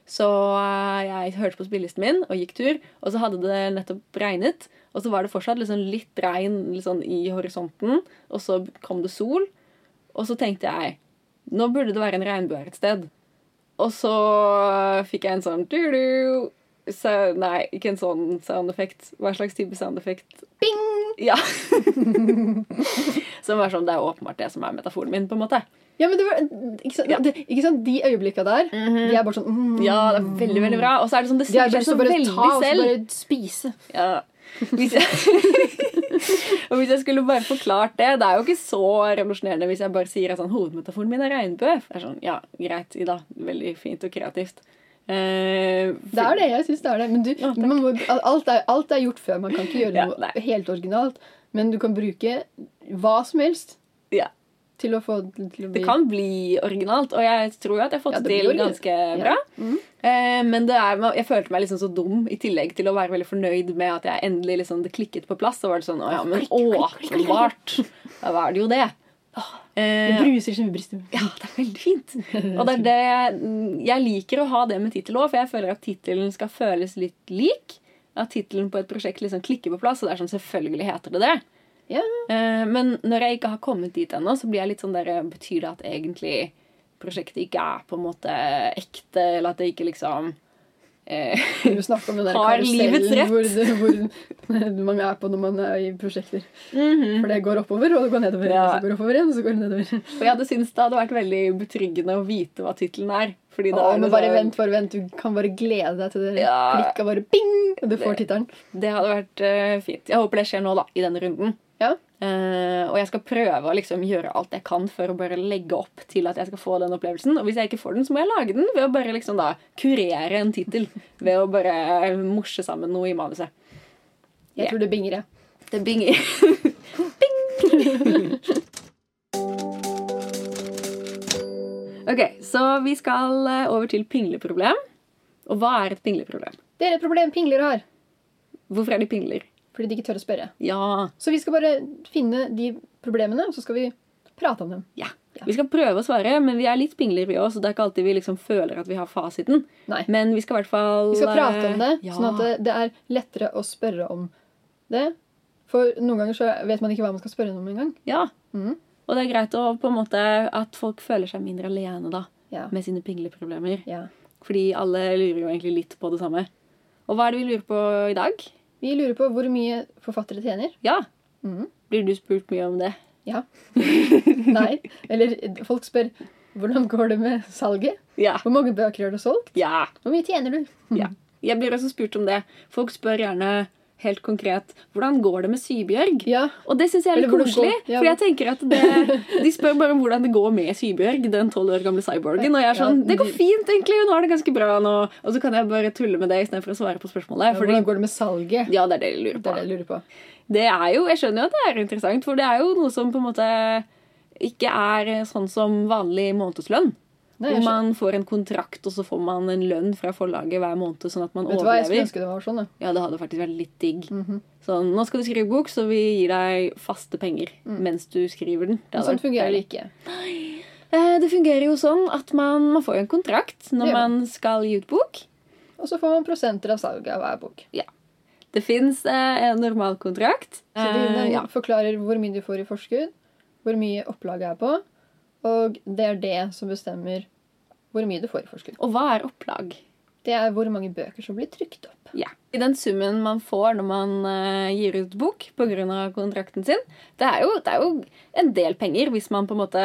[SPEAKER 1] Så eh, jeg hørte på spillelisten min og gikk tur, og så hadde det nettopp regnet. Og så var det fortsatt liksom litt regn litt sånn i horisonten, og så kom det sol. Og så tenkte jeg nå burde det være en regnbue her et sted. Og så fikk jeg en sånn du-du. Så, nei, ikke en sånn soundeffekt. Hva slags type soundeffekt? Bing! Ja. som er sånn, Det er åpenbart det som er metaforen min. på en måte.
[SPEAKER 2] Ja, men det var, ikke sant,
[SPEAKER 1] Ja.
[SPEAKER 2] det, ikke sant de øyeblikka der, de er bare sånn mm,
[SPEAKER 1] Ja, det er veldig veldig bra. Og så er det sånn, det
[SPEAKER 2] De har
[SPEAKER 1] sier
[SPEAKER 2] bare
[SPEAKER 1] seg
[SPEAKER 2] lyst til
[SPEAKER 1] så
[SPEAKER 2] å bare
[SPEAKER 1] veldig
[SPEAKER 2] ta og så
[SPEAKER 1] selv.
[SPEAKER 2] bare spise.
[SPEAKER 1] Ja. Hvis jeg, og hvis jeg skulle bare forklart det Det er jo ikke så revolusjonerende hvis jeg bare sier at sånn, hovedmetaforen min er regnbue. Det er sånn, ja, greit, Ida. Veldig fint og kreativt. Eh,
[SPEAKER 2] Det er det. jeg synes det er det. Men du,
[SPEAKER 1] Ja, takk.
[SPEAKER 2] man må, alt, er, alt er gjort før. Man kan ikke gjøre
[SPEAKER 1] Ja,
[SPEAKER 2] noe
[SPEAKER 1] nei.
[SPEAKER 2] helt originalt. Men du kan bruke hva som helst
[SPEAKER 1] Ja.
[SPEAKER 2] til å få det til å bli
[SPEAKER 1] Det kan bli originalt, og jeg tror jo at jeg har fått
[SPEAKER 2] Ja, det
[SPEAKER 1] det
[SPEAKER 2] blir
[SPEAKER 1] til
[SPEAKER 2] originalt.
[SPEAKER 1] ganske
[SPEAKER 2] Ja.
[SPEAKER 1] bra.
[SPEAKER 2] Mhm.
[SPEAKER 1] Eh, men det er, jeg følte meg liksom så dum, i tillegg til å være veldig fornøyd med at jeg endelig liksom, det klikket på plass. Så var det sånn Å ja, men åpenbart! Da var det jo det.
[SPEAKER 2] Det
[SPEAKER 1] Eh,
[SPEAKER 2] bruser som i brystet.
[SPEAKER 1] ja, det er veldig fint. Og det er det jeg- jeg liker å ha det med tittel òg, for jeg føler at tittelen skal føles litt lik. At tittelen på et prosjekt liksom klikker på plass, og det er sånn selvfølgelig heter det det.
[SPEAKER 2] Ja.
[SPEAKER 1] Eh, Men når jeg ikke har kommet dit ennå, så blir jeg litt sånn der Betyr det at egentlig prosjektet ikke er på en måte ekte, eller at det ikke liksom eh,
[SPEAKER 2] Du snakker om den der
[SPEAKER 1] Har livets rett.
[SPEAKER 2] karusellen hvor, det- hvor man er på når man er i prosjekter. For det går oppover, og det går nedover.
[SPEAKER 1] Ja.
[SPEAKER 2] Og så går det oppover igjen, og så går det nedover.
[SPEAKER 1] Og jeg hadde syntes det hadde vært veldig betryggende å vite hva tittelen er. Fordi det
[SPEAKER 2] Å,
[SPEAKER 1] er liksom-
[SPEAKER 2] men bare vent, bare vent. Du kan bare glede deg til det
[SPEAKER 1] Ja.
[SPEAKER 2] klikket bare bing, og du får tittelen.
[SPEAKER 1] Det hadde vært eh, fint. Jeg håper det skjer nå, da, i denne runden.
[SPEAKER 2] Ja.
[SPEAKER 1] Eh, og jeg skal prøve å liksom gjøre alt jeg kan for å bare legge opp til at jeg skal få den opplevelsen. Og hvis jeg ikke får den, så må jeg lage den ved å bare liksom da kurere en tittel. Ved å bare morse sammen noe i manuset.
[SPEAKER 2] Jeg
[SPEAKER 1] Ja.
[SPEAKER 2] tror det binger, jeg.
[SPEAKER 1] Det binger. Bing! ok, så vi skal eh, over til pingleproblem. Og hva er et pingleproblem?
[SPEAKER 2] Det er et problem pingler har.
[SPEAKER 1] Hvorfor er de pingler?
[SPEAKER 2] Fordi de ikke tør å spørre.
[SPEAKER 1] Ja.
[SPEAKER 2] Så vi skal bare finne de problemene, og så skal vi prate om dem.
[SPEAKER 1] ja. Vi skal prøve å svare, men vi er litt pingler, vi òg, så det er ikke alltid vi liksom føler at vi har fasiten.
[SPEAKER 2] Nei.
[SPEAKER 1] Men vi skal i hvert fall
[SPEAKER 2] Vi skal prate om det,
[SPEAKER 1] eh, ja.
[SPEAKER 2] sånn at det- det er lettere å spørre om det. For noen ganger så vet man ikke hva man skal spørre om engang.
[SPEAKER 1] Ja.
[SPEAKER 2] Mhm.
[SPEAKER 1] Og det er greit å, på en måte, at folk føler seg mindre alene da,
[SPEAKER 2] Ja.
[SPEAKER 1] med sine pingleproblemer.
[SPEAKER 2] ja.
[SPEAKER 1] Fordi alle lurer jo egentlig litt på det samme. Og hva er det vi lurer på i dag?
[SPEAKER 2] Vi lurer på hvor mye forfattere tjener.
[SPEAKER 1] Ja,
[SPEAKER 2] Mhm.
[SPEAKER 1] blir du spurt mye om det?
[SPEAKER 2] Ja. Nei. Eller folk spør hvordan går det med salget?
[SPEAKER 1] Ja.
[SPEAKER 2] Hvor mange bøker har du solgt?
[SPEAKER 1] Ja.
[SPEAKER 2] Hvor mye tjener du?
[SPEAKER 1] ja. Jeg blir også spurt om det. Folk spør gjerne helt konkret hvordan går det med Sybjørg?
[SPEAKER 2] Ja.
[SPEAKER 1] Og det syns jeg er litt
[SPEAKER 2] Eller hvordan
[SPEAKER 1] koselig.
[SPEAKER 2] går- ja,
[SPEAKER 1] for jeg tenker at det, De spør bare om hvordan det går med Sybjørg, den tolv år gamle cyborgen. Og jeg er sånn
[SPEAKER 2] Ja,
[SPEAKER 1] Det går
[SPEAKER 2] de-
[SPEAKER 1] fint, egentlig. Hun har det ganske bra nå. Og så kan jeg bare tulle med det istedenfor å svare på spørsmålet. Fordi,
[SPEAKER 2] Hvordan går det med salget?
[SPEAKER 1] ja, det er det jeg lurer
[SPEAKER 2] Det er
[SPEAKER 1] på.
[SPEAKER 2] det jeg lurer på.
[SPEAKER 1] Det er jo, Jeg skjønner jo at det er interessant, for det er jo noe som på en måte ikke er sånn som vanlig månedslønn.
[SPEAKER 2] Nei,
[SPEAKER 1] hvor
[SPEAKER 2] jeg skjønner.
[SPEAKER 1] man får en kontrakt, og så får man en lønn fra forlaget hver måned. sånn at man
[SPEAKER 2] Vet du hva, jeg skulle
[SPEAKER 1] overlever.
[SPEAKER 2] ønske det var sånn. Da. Mhm.
[SPEAKER 1] Ja, Det hadde faktisk vært litt digg. Sånn, Nå skal du skrive bok, så vi gir deg faste penger mens du skriver den. Det
[SPEAKER 2] Mm. Men
[SPEAKER 1] hadde
[SPEAKER 2] sånn
[SPEAKER 1] vært
[SPEAKER 2] fungerer
[SPEAKER 1] deilig.
[SPEAKER 2] det ikke.
[SPEAKER 1] Eh, Det fungerer jo sånn at man, man får jo en kontrakt når
[SPEAKER 2] Det gjør man.
[SPEAKER 1] man skal gi ut bok.
[SPEAKER 2] Og så får man prosenter av salget av hver bok.
[SPEAKER 1] Det fins eh, en normalkontrakt.
[SPEAKER 2] Så de
[SPEAKER 1] Eh,
[SPEAKER 2] den
[SPEAKER 1] ja.
[SPEAKER 2] forklarer hvor mye du får i forskudd, hvor mye opplaget er på, og det er det som bestemmer hvor mye du får i forskudd.
[SPEAKER 1] Og hva er opplag?
[SPEAKER 2] Det er hvor mange bøker som blir trykt opp.
[SPEAKER 1] Ja. I Den summen man får når man eh, gir ut bok pga. kontrakten sin, det er, jo, det er jo en del penger hvis man på en måte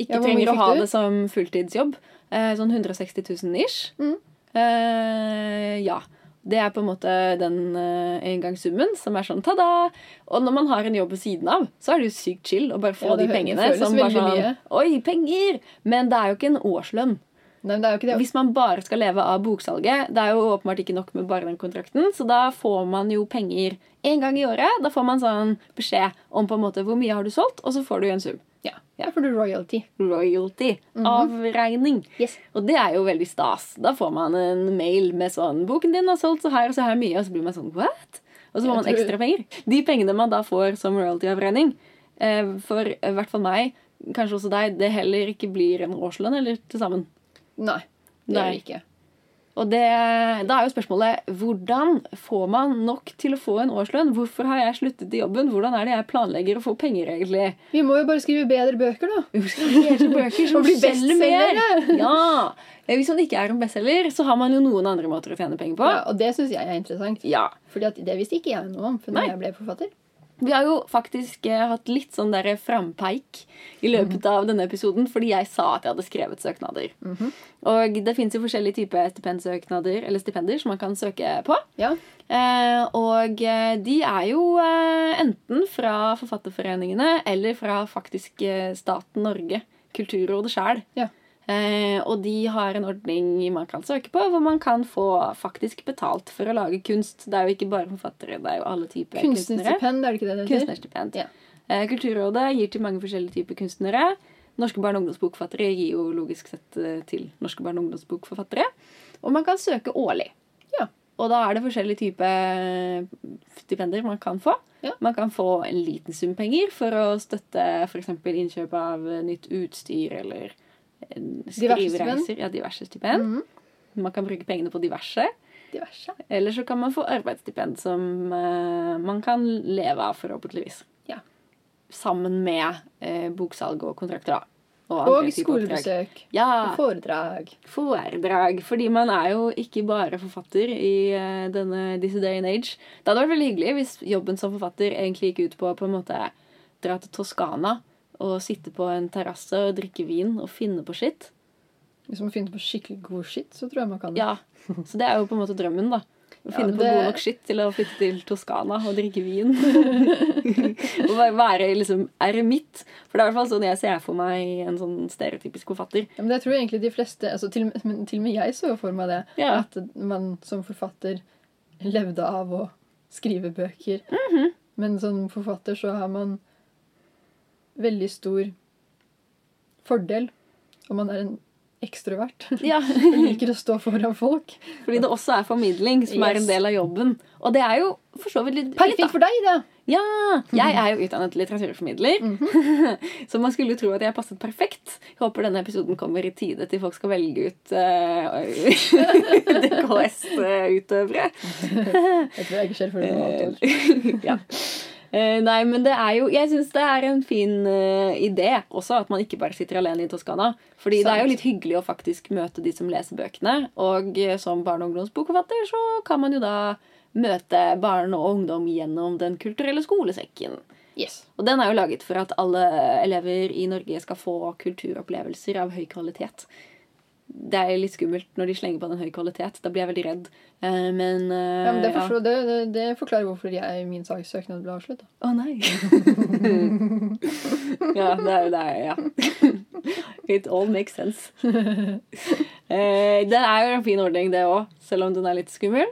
[SPEAKER 1] ikke
[SPEAKER 2] Ja, hvor mye
[SPEAKER 1] trenger å
[SPEAKER 2] fikk
[SPEAKER 1] ha
[SPEAKER 2] du?
[SPEAKER 1] det som fulltidsjobb. Eh, sånn 160 000 ish.
[SPEAKER 2] Mm.
[SPEAKER 1] Eh, ja. Det er på en måte den eh, engangssummen som er sånn ta-da. Og når man har en jobb ved siden av, så er det jo sykt chill å bare få
[SPEAKER 2] Ja, det
[SPEAKER 1] de
[SPEAKER 2] hø-
[SPEAKER 1] pengene.
[SPEAKER 2] føles
[SPEAKER 1] Som bare
[SPEAKER 2] veldig
[SPEAKER 1] sånn,
[SPEAKER 2] mye.
[SPEAKER 1] Oi, penger! Men det er jo ikke en årslønn.
[SPEAKER 2] Nei, men det er jo ikke det.
[SPEAKER 1] Hvis man bare skal leve av boksalget Det er jo åpenbart ikke nok med bare den kontrakten, så da får man jo penger en gang i året. Da får man sånn beskjed om på en måte hvor mye har du solgt, og så får du en sum.
[SPEAKER 2] Ja, Da får du royalty.
[SPEAKER 1] Royalty.
[SPEAKER 2] Mhm.
[SPEAKER 1] Avregning.
[SPEAKER 2] Yes.
[SPEAKER 1] Og det er jo veldig stas. Da får man en mail med sånn 'Boken din har solgt så her og så her mye', og så blir man sånn 'what?' Og så får
[SPEAKER 2] Jeg
[SPEAKER 1] man
[SPEAKER 2] tror-
[SPEAKER 1] ekstra penger. De pengene man da får som royalty-avregning, eh, for i hvert fall meg, kanskje også deg, det heller ikke blir en årslønn eller til sammen.
[SPEAKER 2] Nei, det
[SPEAKER 1] Nei.
[SPEAKER 2] gjør det ikke.
[SPEAKER 1] Og det, da er jo spørsmålet hvordan får man nok til å få en årslønn? Hvorfor har jeg sluttet i jobben? Hvordan er det jeg planlegger å få penger, egentlig?
[SPEAKER 2] Vi må jo bare skrive bedre bøker, da.
[SPEAKER 1] Flere bøker som
[SPEAKER 2] Og bli
[SPEAKER 1] selger mer!
[SPEAKER 2] bestselgere!
[SPEAKER 1] Ja. Eh, Hvis man ikke er en bestselger, så har man jo noen andre måter å tjene penger på.
[SPEAKER 2] Ja, og det syns jeg er interessant.
[SPEAKER 1] Ja.
[SPEAKER 2] Fordi at det visste ikke jeg noe om før
[SPEAKER 1] Nei.
[SPEAKER 2] jeg ble forfatter.
[SPEAKER 1] Vi har jo faktisk eh, hatt litt sånn der frampeik i
[SPEAKER 2] Mhm.
[SPEAKER 1] løpet av denne episoden fordi jeg sa at jeg hadde skrevet søknader.
[SPEAKER 2] Mhm.
[SPEAKER 1] Og det fins jo forskjellige typer stipendsøknader eller stipender som man kan søke på.
[SPEAKER 2] Ja,
[SPEAKER 1] Eh, og eh, de er jo eh, enten fra forfatterforeningene eller fra faktisk eh, staten Norge, Kulturrådet sjæl.
[SPEAKER 2] Ja.
[SPEAKER 1] Eh, og de har en ordning man kan søke på, hvor man kan få faktisk betalt for å lage kunst. Det er jo ikke bare forfattere, det er jo alle typer kunstnere.
[SPEAKER 2] Kunstnerstipend, er det ikke det det heter?
[SPEAKER 1] Kunstnerstipend.
[SPEAKER 2] Ja.
[SPEAKER 1] Eh, Kulturrådet gir til mange forskjellige typer kunstnere. Norske barne- og ungdomsbokforfattere gir jo logisk sett eh, til norske barne- og ungdomsbokforfattere. Og man kan søke årlig.
[SPEAKER 2] Ja.
[SPEAKER 1] Og da er det forskjellige typer stipender man kan få.
[SPEAKER 2] Ja.
[SPEAKER 1] Man kan få en liten sum penger for å støtte f.eks. innkjøp av eh, nytt utstyr eller eh, skrivereiser. Ja, diverse stipend.
[SPEAKER 2] Mhm.
[SPEAKER 1] Man kan bruke pengene på diverse.
[SPEAKER 2] Diverse.
[SPEAKER 1] Eller så kan man få arbeidsstipend som eh, man kan leve av, forhåpentligvis.
[SPEAKER 2] Ja.
[SPEAKER 1] Sammen med eh, boksalg og kontrakter, da. andre typer
[SPEAKER 2] Og
[SPEAKER 1] oppdrag.
[SPEAKER 2] skolebesøk. Og
[SPEAKER 1] Ja.
[SPEAKER 2] foredrag.
[SPEAKER 1] Foredrag. Fordi man er jo ikke bare forfatter i eh, denne, disse day and age. Det hadde vært veldig hyggelig hvis jobben som forfatter egentlig gikk ut på å på en måte dra til Toskana og sitte på en terrasse og drikke vin og finne på skitt.
[SPEAKER 2] Hvis man finner på skikkelig god skitt, så tror jeg man kan det.
[SPEAKER 1] Ja, Så det er jo på en måte drømmen, da. Å
[SPEAKER 2] Mm. Ja,
[SPEAKER 1] finne på
[SPEAKER 2] det-
[SPEAKER 1] god nok skitt til å flytte til Toskana og drikke vin. og bare være liksom eremitt. For det er i hvert fall sånn jeg ser for meg en sånn stereotypisk forfatter.
[SPEAKER 2] Ja, men jeg tror jeg egentlig de fleste, altså til, og med- men til og med jeg så jo for meg det,
[SPEAKER 1] Ja.
[SPEAKER 2] at man som forfatter levde av å skrive bøker.
[SPEAKER 1] Mhm.
[SPEAKER 2] Men som forfatter så har man veldig stor fordel om man er en ekstrovert.
[SPEAKER 1] Ja,
[SPEAKER 2] Jeg liker å stå foran folk.
[SPEAKER 1] Fordi det også er formidling som er en
[SPEAKER 2] Yes.
[SPEAKER 1] del av jobben. Og det er jo for så vidt litt litt, da.
[SPEAKER 2] Perfekt for deg, da! Mhm.
[SPEAKER 1] Ja! Jeg er jo utdannet litteraturformidler, så man skulle jo tro at jeg passet perfekt. Jeg håper denne episoden kommer i tide til folk skal velge ut eh, DKS-utøvere.
[SPEAKER 2] Jeg tror jeg ikke skjer før det er et halvt år.
[SPEAKER 1] ja. Eh, Nei, men det er jo Jeg syns det er en fin eh, idé også, at man ikke bare sitter alene i Toskana. Fordi det er jo
[SPEAKER 2] Sant.
[SPEAKER 1] litt hyggelig å faktisk møte de som leser bøkene. Og eh, som barne- og ungdomsbokforfatter så kan man jo da møte barn og ungdom gjennom Den kulturelle skolesekken.
[SPEAKER 2] Yes.
[SPEAKER 1] Og den er jo laget for at alle elever i Norge skal få kulturopplevelser av høy kvalitet. Det er litt skummelt når de slenger på den høy kvalitet. Da blir jeg veldig redd. Eh, Men, eh,
[SPEAKER 2] Ja, men det, forstår, det, det, det forklarer hvorfor jeg, min sakssøknad ble avslutta.
[SPEAKER 1] Å nei. ja, det er jo det. er- Ja. It all makes sense. Eh, det er jo en fin ordning, det òg, selv om den er litt skummel.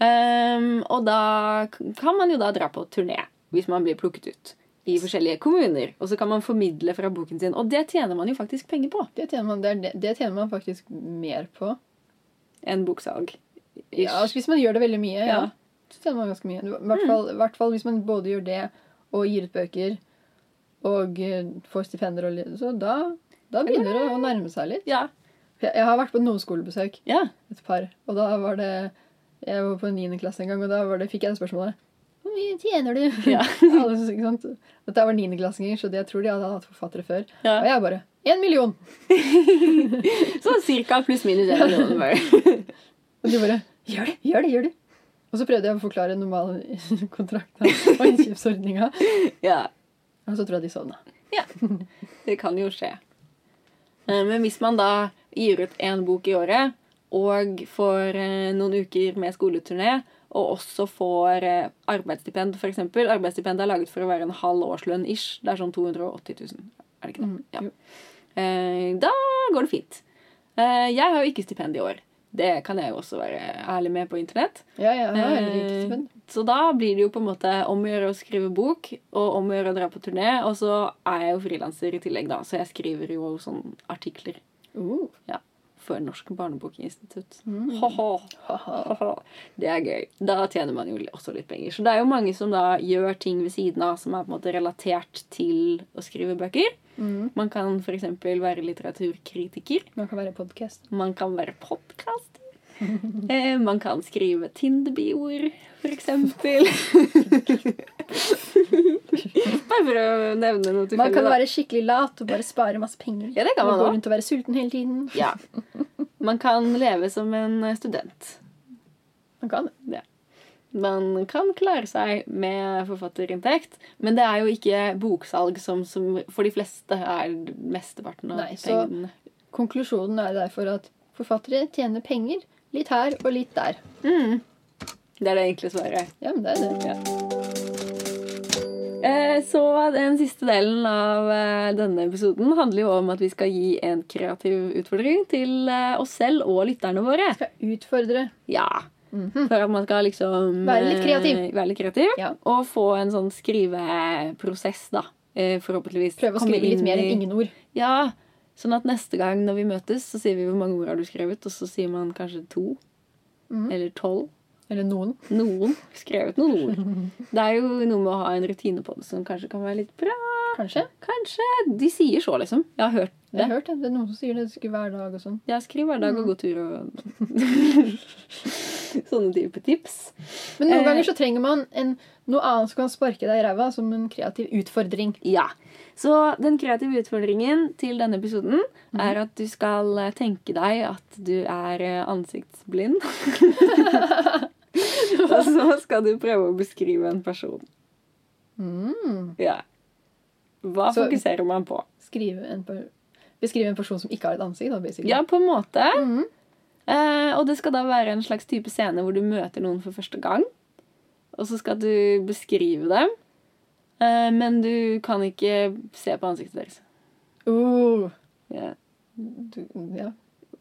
[SPEAKER 1] Ehm, og da k- kan man jo da dra på turné, hvis man blir plukket ut i forskjellige kommuner. Og så kan man formidle fra boken sin, og det tjener man jo faktisk penger på.
[SPEAKER 2] Det, tjener man- det, er det, det tjener man faktisk mer på.
[SPEAKER 1] En boksalg. Ish.
[SPEAKER 2] Ja, altså Hvis man gjør det veldig mye, ja.
[SPEAKER 1] Ja.
[SPEAKER 2] så tjener man ganske mye. I hvert fall, i hvert fall hvis man både gjør det og gir ut bøker og eh, får stipender og litt, så da, da begynner det å nærme seg litt.
[SPEAKER 1] ja.
[SPEAKER 2] Jeg, jeg har vært på noen skolebesøk,
[SPEAKER 1] ja.
[SPEAKER 2] et par, og da var det Jeg var på 9. klasse en gang, og da var det, fikk jeg det spørsmålet. Hvor mye tjener du?
[SPEAKER 1] Ja.
[SPEAKER 2] Alle synes, ikke sant? Dette var niendeklassinger, så det, jeg tror de hadde hatt forfattere før.
[SPEAKER 1] Ja.
[SPEAKER 2] Og jeg bare Én million!
[SPEAKER 1] Så cirka pluss-minus en million. bare.
[SPEAKER 2] Og de bare Gjør det! Gjør det! Gjør det! Og så prøvde jeg å forklare normalkontrakten og innkjøpsordninga.
[SPEAKER 1] Ja.
[SPEAKER 2] Og så tror jeg de sovna.
[SPEAKER 1] Det kan jo skje. Eh, Men hvis man da gir ut én bok i året, og får eh, noen uker med skoleturné, og også får eh, arbeidsstipend, f.eks. Arbeidsstipend er laget for å være en halv årslønn ish. Det er sånn 280 000. Er det ikke det?
[SPEAKER 2] Mm,
[SPEAKER 1] Ja.
[SPEAKER 2] jo.
[SPEAKER 1] Eh, Da går det fint. Eh, Jeg har jo ikke stipend i år. Det kan jeg jo også være ærlig med på internett.
[SPEAKER 2] Ja, ja, jeg er
[SPEAKER 1] Eh,
[SPEAKER 2] riktig spent.
[SPEAKER 1] Så da blir det jo på en måte om å gjøre å skrive bok, og om å gjøre å dra på turné. Og så er jeg jo frilanser i tillegg, da, så jeg skriver jo sånn artikler
[SPEAKER 2] Uh,
[SPEAKER 1] for Norsk barnebokinstitutt.
[SPEAKER 2] Mm.
[SPEAKER 1] Ho-ho.
[SPEAKER 2] haha.
[SPEAKER 1] Haha. Det er gøy. Da tjener man jo også litt penger. Så det er jo mange som da gjør ting ved siden av som er på en måte relatert til å skrive bøker.
[SPEAKER 2] Mm.
[SPEAKER 1] Man kan f.eks. være litteraturkritiker.
[SPEAKER 2] Man kan være podkast.
[SPEAKER 1] Man kan være podkaster. Eh, man kan skrive Tinder-bioer, for eksempel. Bare for å nevne noe tilfeldig.
[SPEAKER 2] Man kan
[SPEAKER 1] da.
[SPEAKER 2] være skikkelig lat og bare spare masse penger.
[SPEAKER 1] Ja, det kan man
[SPEAKER 2] Og gå
[SPEAKER 1] også.
[SPEAKER 2] rundt og være sulten hele tiden.
[SPEAKER 1] Ja. Man kan leve som en eh, student.
[SPEAKER 2] Man kan det.
[SPEAKER 1] Man kan klare seg med forfatterinntekt, men det er jo ikke boksalg som, som for de fleste er mesteparten av
[SPEAKER 2] Nei, så-
[SPEAKER 1] pengene.
[SPEAKER 2] Konklusjonen er derfor at forfattere tjener penger litt her og litt der.
[SPEAKER 1] Mm. Det er det enkle svaret.
[SPEAKER 2] Ja, men det er det.
[SPEAKER 1] Eh, Så den siste delen av eh, denne episoden handler jo om at vi skal gi en kreativ utfordring til eh, oss selv og lytterne våre.
[SPEAKER 2] Skal utfordre.
[SPEAKER 1] Ja,
[SPEAKER 2] Mhm.
[SPEAKER 1] For at man skal liksom
[SPEAKER 2] Være litt
[SPEAKER 1] eh,
[SPEAKER 2] kreativ.
[SPEAKER 1] Være litt kreativ
[SPEAKER 2] Ja.
[SPEAKER 1] Og få en sånn skriveprosess, da. Eh, Forhåpentligvis.
[SPEAKER 2] Prøve å
[SPEAKER 1] komme
[SPEAKER 2] skrive litt
[SPEAKER 1] inn
[SPEAKER 2] mer enn
[SPEAKER 1] i-
[SPEAKER 2] ingen ord.
[SPEAKER 1] Ja, Sånn at neste gang når vi møtes, så sier vi hvor mange ord har du skrevet, og så sier man kanskje to.
[SPEAKER 2] Mhm.
[SPEAKER 1] Eller tolv.
[SPEAKER 2] Eller noen.
[SPEAKER 1] Noen. Skrevet noen ord. Det er jo noe med å ha en rutine på det som kanskje kan være litt bra.
[SPEAKER 2] Kanskje.
[SPEAKER 1] Kanskje de sier så, liksom. Jeg har hørt
[SPEAKER 2] Jeg har
[SPEAKER 1] det.
[SPEAKER 2] hørt det. det er noen som sier det skulle hver dag og sånn.
[SPEAKER 1] Jeg skriver hver dag og går tur og Sånne type tips.
[SPEAKER 2] Men noen
[SPEAKER 1] Eh.
[SPEAKER 2] ganger så trenger man en, noe annet som kan sparke deg i ræva, som en kreativ utfordring.
[SPEAKER 1] Ja. Så den kreative utfordringen til denne episoden
[SPEAKER 2] Mm.
[SPEAKER 1] er at du skal eh, tenke deg at du er eh, ansiktsblind. og så skal du prøve å beskrive en person.
[SPEAKER 2] Mm.
[SPEAKER 1] Ja. Hva
[SPEAKER 2] Så-
[SPEAKER 1] fokuserer man på?
[SPEAKER 2] Skrive en, per- beskrive en person som ikke har et ansikt, da, basically.
[SPEAKER 1] Ja, på en måte.
[SPEAKER 2] Mhm.
[SPEAKER 1] Eh, og det skal da være en slags type scene hvor du møter noen for første gang. Og så skal du beskrive dem, eh, men du kan ikke se på ansiktet deres.
[SPEAKER 2] Oh,
[SPEAKER 1] Ja.
[SPEAKER 2] du, ja,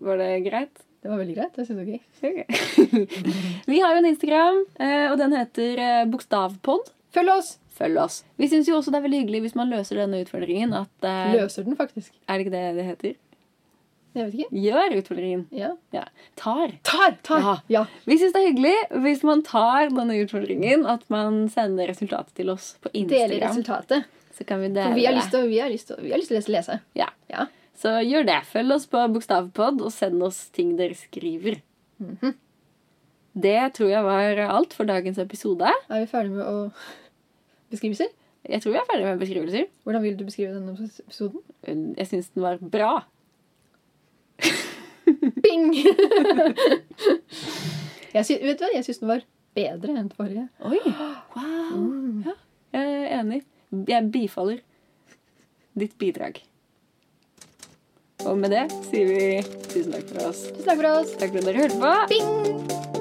[SPEAKER 1] Var det greit?
[SPEAKER 2] det var veldig greit. Jeg synes det var gøy.
[SPEAKER 1] Ok. Vi har jo en Instagram, eh, og den heter eh, bokstavpod.
[SPEAKER 2] Følg oss!
[SPEAKER 1] Følg oss. Vi syns jo også det er veldig hyggelig hvis man løser denne utfordringen at eh,
[SPEAKER 2] Løser den faktisk.
[SPEAKER 1] Er det ikke det det heter?
[SPEAKER 2] Jeg vet ikke.
[SPEAKER 1] Gjør utfordringen.
[SPEAKER 2] Ja.
[SPEAKER 1] Ja. Tar.
[SPEAKER 2] Tar! Tar!
[SPEAKER 1] Ja.
[SPEAKER 2] Ja.
[SPEAKER 1] Vi syns det er hyggelig hvis man tar denne utfordringen, at man sender resultatet til oss på
[SPEAKER 2] Deler
[SPEAKER 1] Instagram.
[SPEAKER 2] resultatet.
[SPEAKER 1] Så kan vi dele
[SPEAKER 2] For vi har
[SPEAKER 1] det.
[SPEAKER 2] lyst til å- vi har lyst til å- vi har lyst til å lese lese.
[SPEAKER 1] Ja.
[SPEAKER 2] Ja.
[SPEAKER 1] Så gjør det. Følg oss på Bokstavpod, og send oss ting dere skriver.
[SPEAKER 2] Mhm.
[SPEAKER 1] Det tror jeg var alt for dagens episode.
[SPEAKER 2] Er vi ferdige med å beskrive selv?
[SPEAKER 1] Jeg tror vi er ferdig med beskrivelser.
[SPEAKER 2] Hvordan vil du beskrive denne episoden?
[SPEAKER 1] Jeg syns den var bra.
[SPEAKER 2] Bing! jeg sy vet du hva? Jeg syns den var bedre enn den forrige.
[SPEAKER 1] Oi! Wow! Ja, jeg er enig. Jeg bifaller ditt bidrag. Og med det sier vi tusen takk for oss.
[SPEAKER 2] Tusen takk for oss.
[SPEAKER 1] Takk for at dere hørte på.
[SPEAKER 2] Bing!